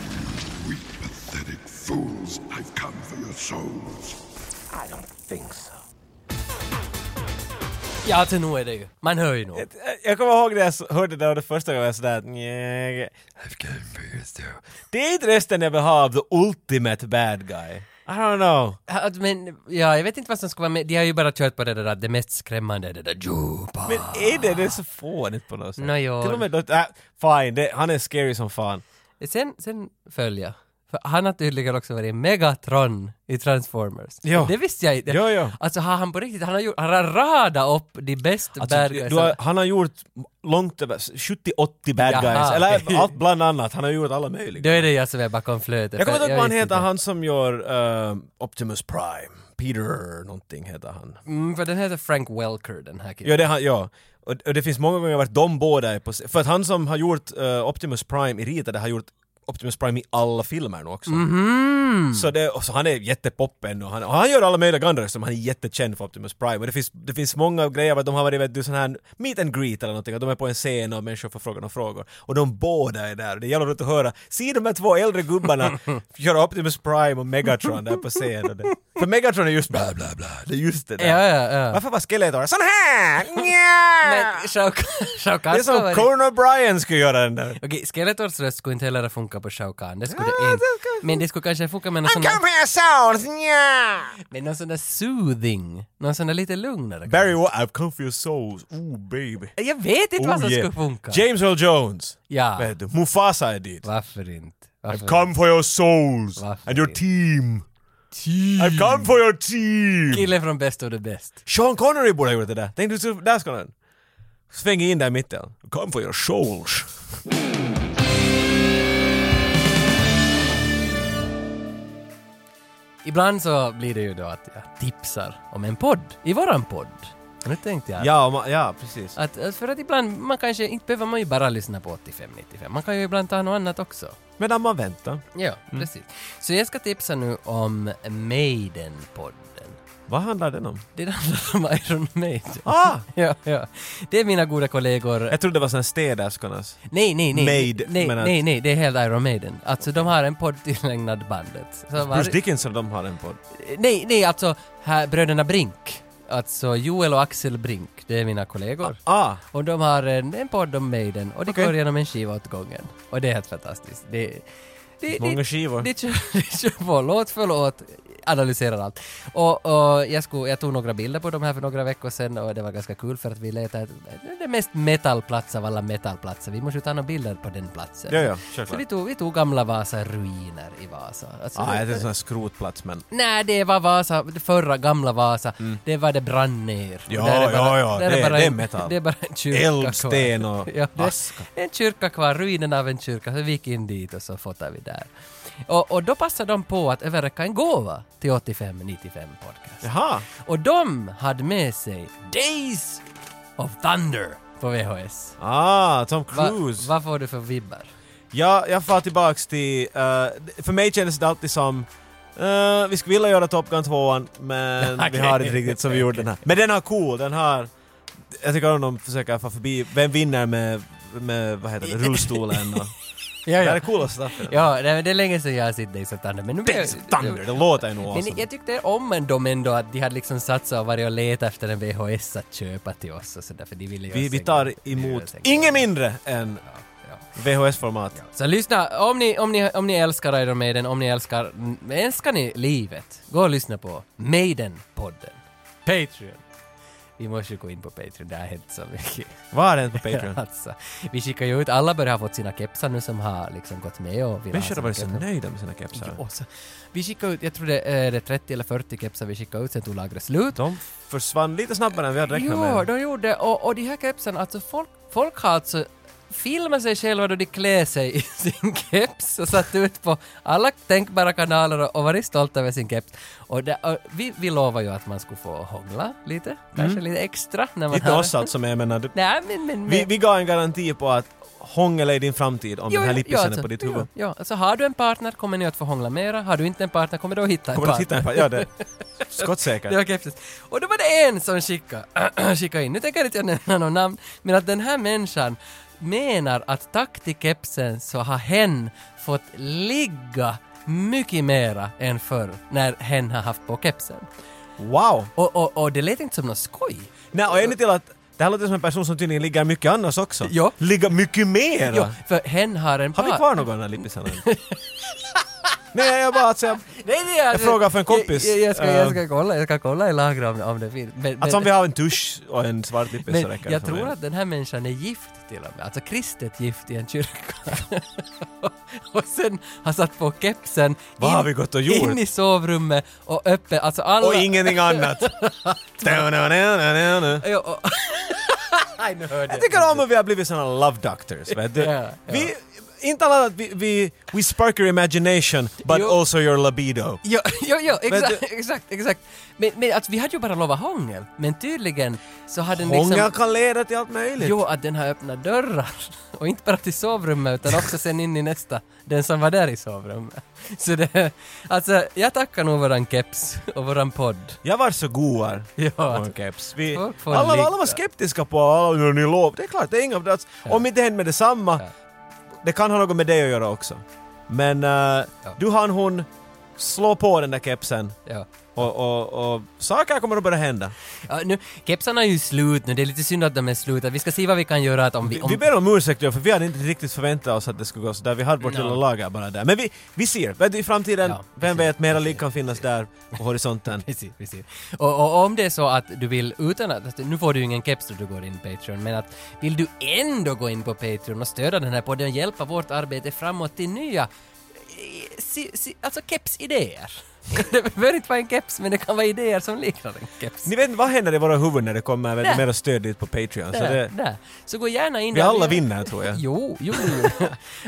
You weak, pathetic fools. I've come for your souls. I don't think so. Ja, alltså nu är det ju. Man hör ju nog. Jag kommer ihåg när jag s- hörde det och det första gången jag sådär "Nja, I've come for you so." Det är inte rösten jag vill ha av the ultimate bad guy. I don't know. Att, Men, ja, jag vet inte vad som ska vara med. De har ju bara kört på det där att det mest skrämmande är det där Juba. Men är det det är så fånigt på något sätt? Nå, jo. Till och med då, äh, fine, det, han är scary som fan. Sen, sen följer. För han har tydligen också varit Megatron i Transformers. Ja. Det visste jag inte. Jo, jo. Alltså har han på riktigt, han har, gjort, han har radat upp de bästa Alltså, bad du- guys. du har, han har gjort långt över 70-80 bad Jaha. guys, eller allt bland annat, han har gjort alla möjliga. Då är det jag som är bakom flötet. jag kommer för inte ihåg vad han visste heter, inte. han som gör eh, Optimus Prime. Peter någonting heter han. Mm, för den heter Frank Welker, den här killen. Ja, det är han, ja. Och, och det finns många gånger varit de båda är på se- För att han som har gjort eh, Optimus Prime i ritade har gjort Optimus Prime i alla filmer nu också. Mhm. Så, det, och så han är jättepoppen och han, och han gör alla möjliga andra som han är jättekänd för Optimus Prime. Och det finns, det finns många grejer att de har varit vet du, sån här meet and greet eller någonting, att de är på en scen och människor får fråga några frågor. Och de båda är där och det gäller roligt att höra, se de här två äldre gubbarna köra Optimus Prime och Megatron där på scen. Och det. För Megatron är just bla bla bla, det är just det där. Ja, ja, ja. Varför var Skeletor sån här? Nja! Ah. Men Shao Kahn- Shao Det Kahn är ska som vara... Conan O'Brien skulle göra den där. Okej, Skeletors röst skulle inte heller funka på Shao Kahn, det skulle Ja, det inte. det skulle- Men det skulle kanske funka med någon sån, Come där, here sounds, nja! med någon sån där soothing, någon sån där lite lugnare. Barry White, I've come for your souls, ooh baby. Jag vet inte vad som Oh, yeah. skulle funka. James Earl Jones. Ja. Vet du, Mufasa är dit. Varför inte? Varför I've come for your souls Varför and your det? team. I've come for your team. Killen från Best of the Best. Sean Connery borde ha gjort det där. Tänk du, så- där ska den. Sväng in där i mitten. Come for your souls. Ibland så blir det ju då att jag tipsar om en podd, i våran podd. Nu tänkte jag Ja, ma- ja precis. att, att för att ibland, man kanske, inte behöver man ju bara lyssna på 85-95, man kan ju ibland ta något annat också. Medan man väntar. Ja, precis. Så jag ska tipsa nu om Maiden-podden. Vad handlar den om? Det handlar om Iron Maiden. Ah! ja, ja. Det är mina goda kollegor. Jag trodde det var sån här städerskornas. Nej, nej, nej. Maid, nej, men att- nej, nej, det är helt Iron Maiden. Alltså, de har en podd tillägnad bandet. Så var- Bruce Dickinson, de har en podd. nej, nej, alltså här, bröderna Brink. Alltså Joel och Axel Brink, det är mina kollegor. Ah! Och de har en, en podd om Maiden och de Okej. går igenom en skiva åt gången. Och det är helt fantastiskt. Det, det, Många det, skivor. Det kör, det kör på låt för låt, analyserar allt. Och, och jag, skulle, jag tog några bilder på de här för några veckor sedan och det var ganska kul för att vi letade det är den mest metalplats av alla metalplatser. Vi måste ju ta några bilder på den platsen. Ja, ja, Så självklart. vi tog, vi tog gamla Vasa-ruiner i Vasa. Alltså, Ah, det- det är en sån här skrotplats men... Nej, det var Vasa, det förra gamla Vasa. Det var det brann ner. Mm. Ja, Och där är ja, ja, där det- det är en- metall. Det är bara en kyrka Eldsten kvar. och det är aska. En kyrka kvar, ruinen av en kyrka. Så vi gick in dit och så fotade vi där. Och, och då passade de på att överräcka en gåva till 85-95 podcast. Jaha! Och de hade med sig Days of Thunder på VHS. Ah, Tom Va, Cruise. vad får du för vibbar? Ja, jag far tillbaks till... eh, för mig kändes det alltid som... eh, vi skulle vilja göra Top Gun 2 men vi har det inte riktigt så vi gjorde den här. Men den har cool, den har... Jag tycker om de försöker få förbi... Vem vinner med, med vad heter det, rullstolen och... Ja, Det här är coola stuff. Ja, nej, men det är länge sedan jag har sett Days of Thunder. Men nu blir- Days of Thunder, det låter ju nog Men awesome. jag tyckte om ändå, men ändå att de hade liksom satsat och varit och letat efter en VHS att köpa till oss och sådär, för de ville ju Vi, ha vi sängar. tar De ville ha emot sängar. inget mindre än Ja. VHS-format. Så lyssna, om ni, om, ni, om ni älskar Iron Maiden, om ni älskar, m- älskar ni livet, gå och lyssna på Maiden-podden. Patreon. Vi måste ju gå in på Patreon, det har hänt så mycket. Var den på Patreon? alltså, vi skickar ju ut, alla börjar ha fått sina kepsar nu som har liksom gått med och vill ha Människor har sina varit så kepsar. nöjda med sina kepsar. Ja, så- Vi skickade ut, jag tror det är det 30 eller 40 kepsar vi skickade ut, sen tog lagret slut. De försvann lite snabbare än vi hade räknat Jo, med. de gjorde och, och de här kepsen, alltså folk, folk har alltså filmat sig själva då de klär sig i sin keps och satt ut på alla tänkbara kanaler och, och varit stolta över sin keps. Och, det, och vi, vi lovade ju att man skulle få hångla Mm. lite, kanske lite extra när man Inte har- oss alltså, men jag menar... du- Nej, men... men, men Vi, vi gav en garanti på att hångla i din framtid om den här lippisen är på ditt huvud. Ja, ja, alltså har du en partner kommer ni att få hångla mera, har du inte en partner kommer du att hitta en Kommer du partner. att hitta en par? Ja, det. Skottsäkert. Det var kepsigt. Och då var det en som skickade, skickade in, nu tänker jag inte jag nämna någon namn, men att den här människan menar att tack till kepsen så har hen fått ligga mycket mera än förr när hen har haft på kepsen. Wow! Och, och, och det lät inte som något skoj. Nej, och ännu till att det här låter som en person som tydligen ligger mycket annars också. Ja. Ligger mycket mer! Jo, för hen har en Har vi par- kvar någon av den här lippisarna? Nej, jag bara alltså, jag, Nej, det är, Jag frågar för en kompis. Jag, jag, ska, jag, ska Eh. kolla, jag ska kolla i lagret om, om det finns. Men, alltså om men- vi har en tusch och en svart lippis så Men räcker det jag för mig. tror att den här människan är gift till och med, alltså kristet gift i en kyrka. och sen har satt på kepsen Vad har vi gått och gjort? in i sovrummet och öppet, alltså alla... Och ingenting annat! Ja, och- Nej, nu hörde Jag tycker om att vi har blivit såna love doctors, vet du? Ja, ja. Vi, inte alla att vi, vi, we spark your imagination, but Jo. also your libido. Ja, ja, ja exakt, du- exakt, exakt. Men, men alltså, vi hade ju bara lovat hångel, men tydligen så har den Hångel liksom... kan leda till allt möjligt. Jo, att den har öppnat dörrar. Och inte bara till sovrummet utan också sen in i nästa, den som var där i sovrummet. Så det, alltså jag tackar nog våran keps och våran podd. Jag var så goar. Ja, Morgon, Keps. Vi, folk får alla, alla ligga. var skeptiska på alla, "Ja, ni lov. Det är klart, det är inga plats. Om inte det händer med detsamma, det kan ha något med dig att göra också. Men äh, du han hon, slå på den där kepsen Ja. och, och, och saker kommer att börja hända. Ja, nu, kepsarna är ju slut nu, det är lite synd att de är slut. Vi ska se vad vi kan göra att om vi... Vi, Om, vi ber om ursäkt ja, för vi hade inte riktigt förväntat oss att det skulle gå sådär. Vi hade vårt lilla lager bara där. Men vi, vi ser, vet du, i framtiden, Ja, vem vet, mera ligg kan finnas där på horisonten. Precis, precis. Och, och om det är så att du vill utan att, nu får du ju ingen keps då du går in på Patreon, men att vill du ändå gå in på Patreon och stödja den här podden och hjälpa vårt arbete framåt till nya, eh, si, si, alltså kepsidéer. det behöver inte vara en keps, men det kan vara idéer som liknar en keps. Ni vet inte vad händer i våra huvuden när det kommer vet, Nej. du, mera stöd dit på Patreon. Så där, det, där. Så gå gärna in vi där. alla vinner tror jag. Jo, jo.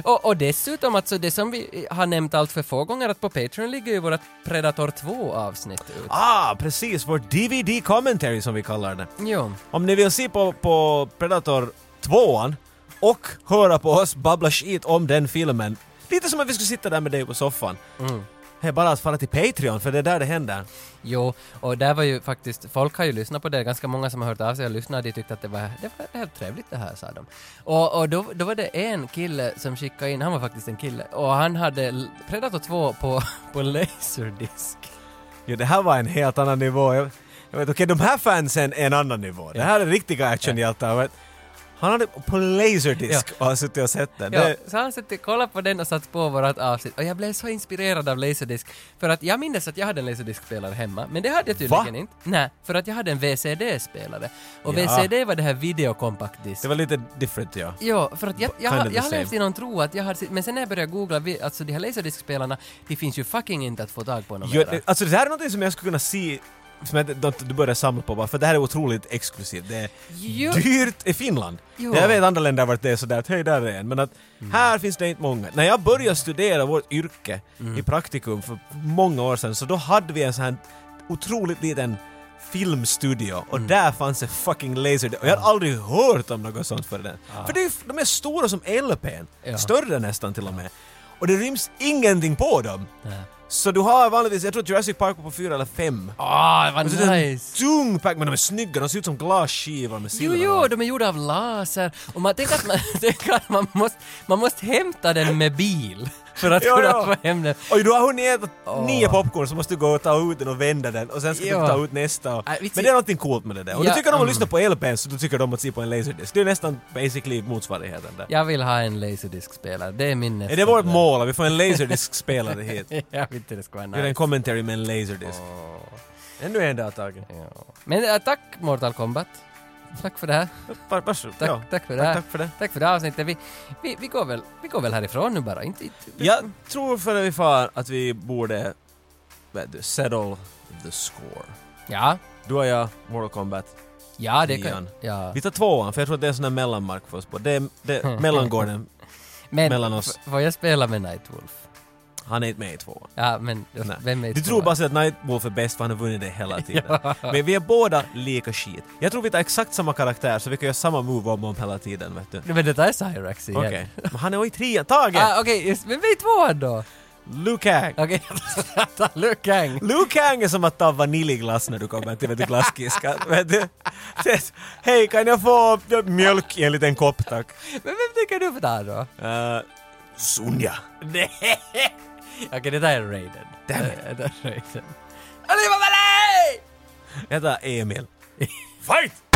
och, och dessutom, alltså det som vi har nämnt allt för få gånger, att på Patreon ligger ju vårt Predator 2-avsnitt ut. Ah, precis! Vår DVD commentary som vi kallar det. Jo. Om ni vill se på, på Predator 2 Mm. och höra på oss babbla skit om den filmen, lite som att vi skulle sitta där med dig på soffan. Det är bara att falla till Patreon, för det är där det händer. Jo, och där var ju faktiskt, folk har ju lyssnat på det, ganska många som har hört av sig och lyssnat, de tyckte att det var, det var helt trevligt det här, sa de. Och, och då, då var det en kille som skickade in, han var faktiskt en kille, och han hade L- Predator 2 på, på laserdisk. Ja, det här var en helt annan nivå. Jag, jag vet, okej, de här fansen är en annan nivå. Det här är riktiga actionhjältar. jag vet. Han hade på laserdisk och har suttit och sett den. Ja, Det, så han satt och kollade på den och satt på vårat avsnitt och jag blev så inspirerad av Laserdisc för att jag minns att jag hade en Laserdisc-spelare hemma men det hade jag tydligen Va? inte. Nej, för att jag hade en VCD-spelare och Ja. VCD var det här videokompaktdisk. det var lite different, ja. Ja, för att jag, jag, Kind har- of the jag har levt same. i någon tro att jag har sett, men sen när jag började googla, vi- alltså de här laserdiskspelarna, de finns ju fucking inte att få tag på Jo, några det, mera. alltså det här är något som jag skulle kunna se som jag inte- du börjar samla på bara, för det här är otroligt exklusivt. Det är Jo. dyrt i Finland. Jo. Jag vet andra länder vart det är sådär att hej där är en, men att Mm. här finns det inte många. När jag började studera vårt yrke Mm. i praktikum för många år sedan så då hade vi en sån här otroligt liten filmstudio Mm. och där fanns det fucking laser och jag hade aldrig hört om något sånt förrän. För det är, ju- de är stora som LPn, Ja. större nästan till och med. Och det ryms ingenting på dem. Nej. Så du har vanligtvis, jag tror Jurassic Park var på fyra eller fem. Ah, det Och så är Alltså, det var en nice! Tung pack, men de är snygga, de ser ut som glasskivor med Jo, silver. jo, de är gjorda av laser och man tänker att man, tänker att man, måste, man måste hämta den med bil för att Ja, kunna ja. få hem den. Och du har hunnit äta Åh. nio popcorn så måste du gå och ta ut den och vända den och sen ska Ja. du ta ut nästa. Och, Äh, vi ser- men det är någonting coolt med det där. Och Ja, du tycker om att mm. lyssna på LPn så du tycker om att se på en laserdisk. Det är nästan basically motsvarigheten där. Jag vill ha en laserdiscspelare, det är min nästa. Är det vårt dröm. mål att vi får en laserdisk-spelare hit? Jag vet inte, det ska vara Gör en nice. commentary med en laserdisk. Ännu en dag tagen. Ja. Men äh, tack Mortal Kombat. Tack för det här. Varsågod. Tack, Ja. tack för det Tack, här. tack för det. Tack för det här avsnittet. Vi, vi, vi, går, väl, vi går väl härifrån nu bara. Inte, inte, Jag tror för vi far att vi borde vet du, settle the score. Ja, Du och jag, Mortal Kombat. ja det Nian. kan... Ja. Vi tar tvåan för jag tror att det är en sån där mellanmark för oss på. Det är, det är mellangården. Men mellan oss. f- får jag spela med Nightwolf? Han är inte med i tvåan. Ja, men Nej. vem är Du tror bara så att Nightwolf är bäst för han har vunnit det hela tiden. Men vi är båda lika shit. Jag tror vi tar exakt samma karaktär så vi kan göra samma move om och om hela tiden vet du. Nej, Men det där är Cyrax igen. Okej. Men han är i trean. Tage! Ah, Okej, just, men vi är tvåan då! Luke Hang! Okej, Luke Kang. Luke Hang är som att ta vaniljglass när du kommer till vet du, glasskiskan. vet du. Det- Hej, kan jag få mjölk i en liten kopp tack? Men vem tycker du ta då? Uh, Sonja. Nej! Okej, det där är Raiden. Eh, Damn it. Det där är Raiden. Oliva Malay! Jag tar Emil. Fight!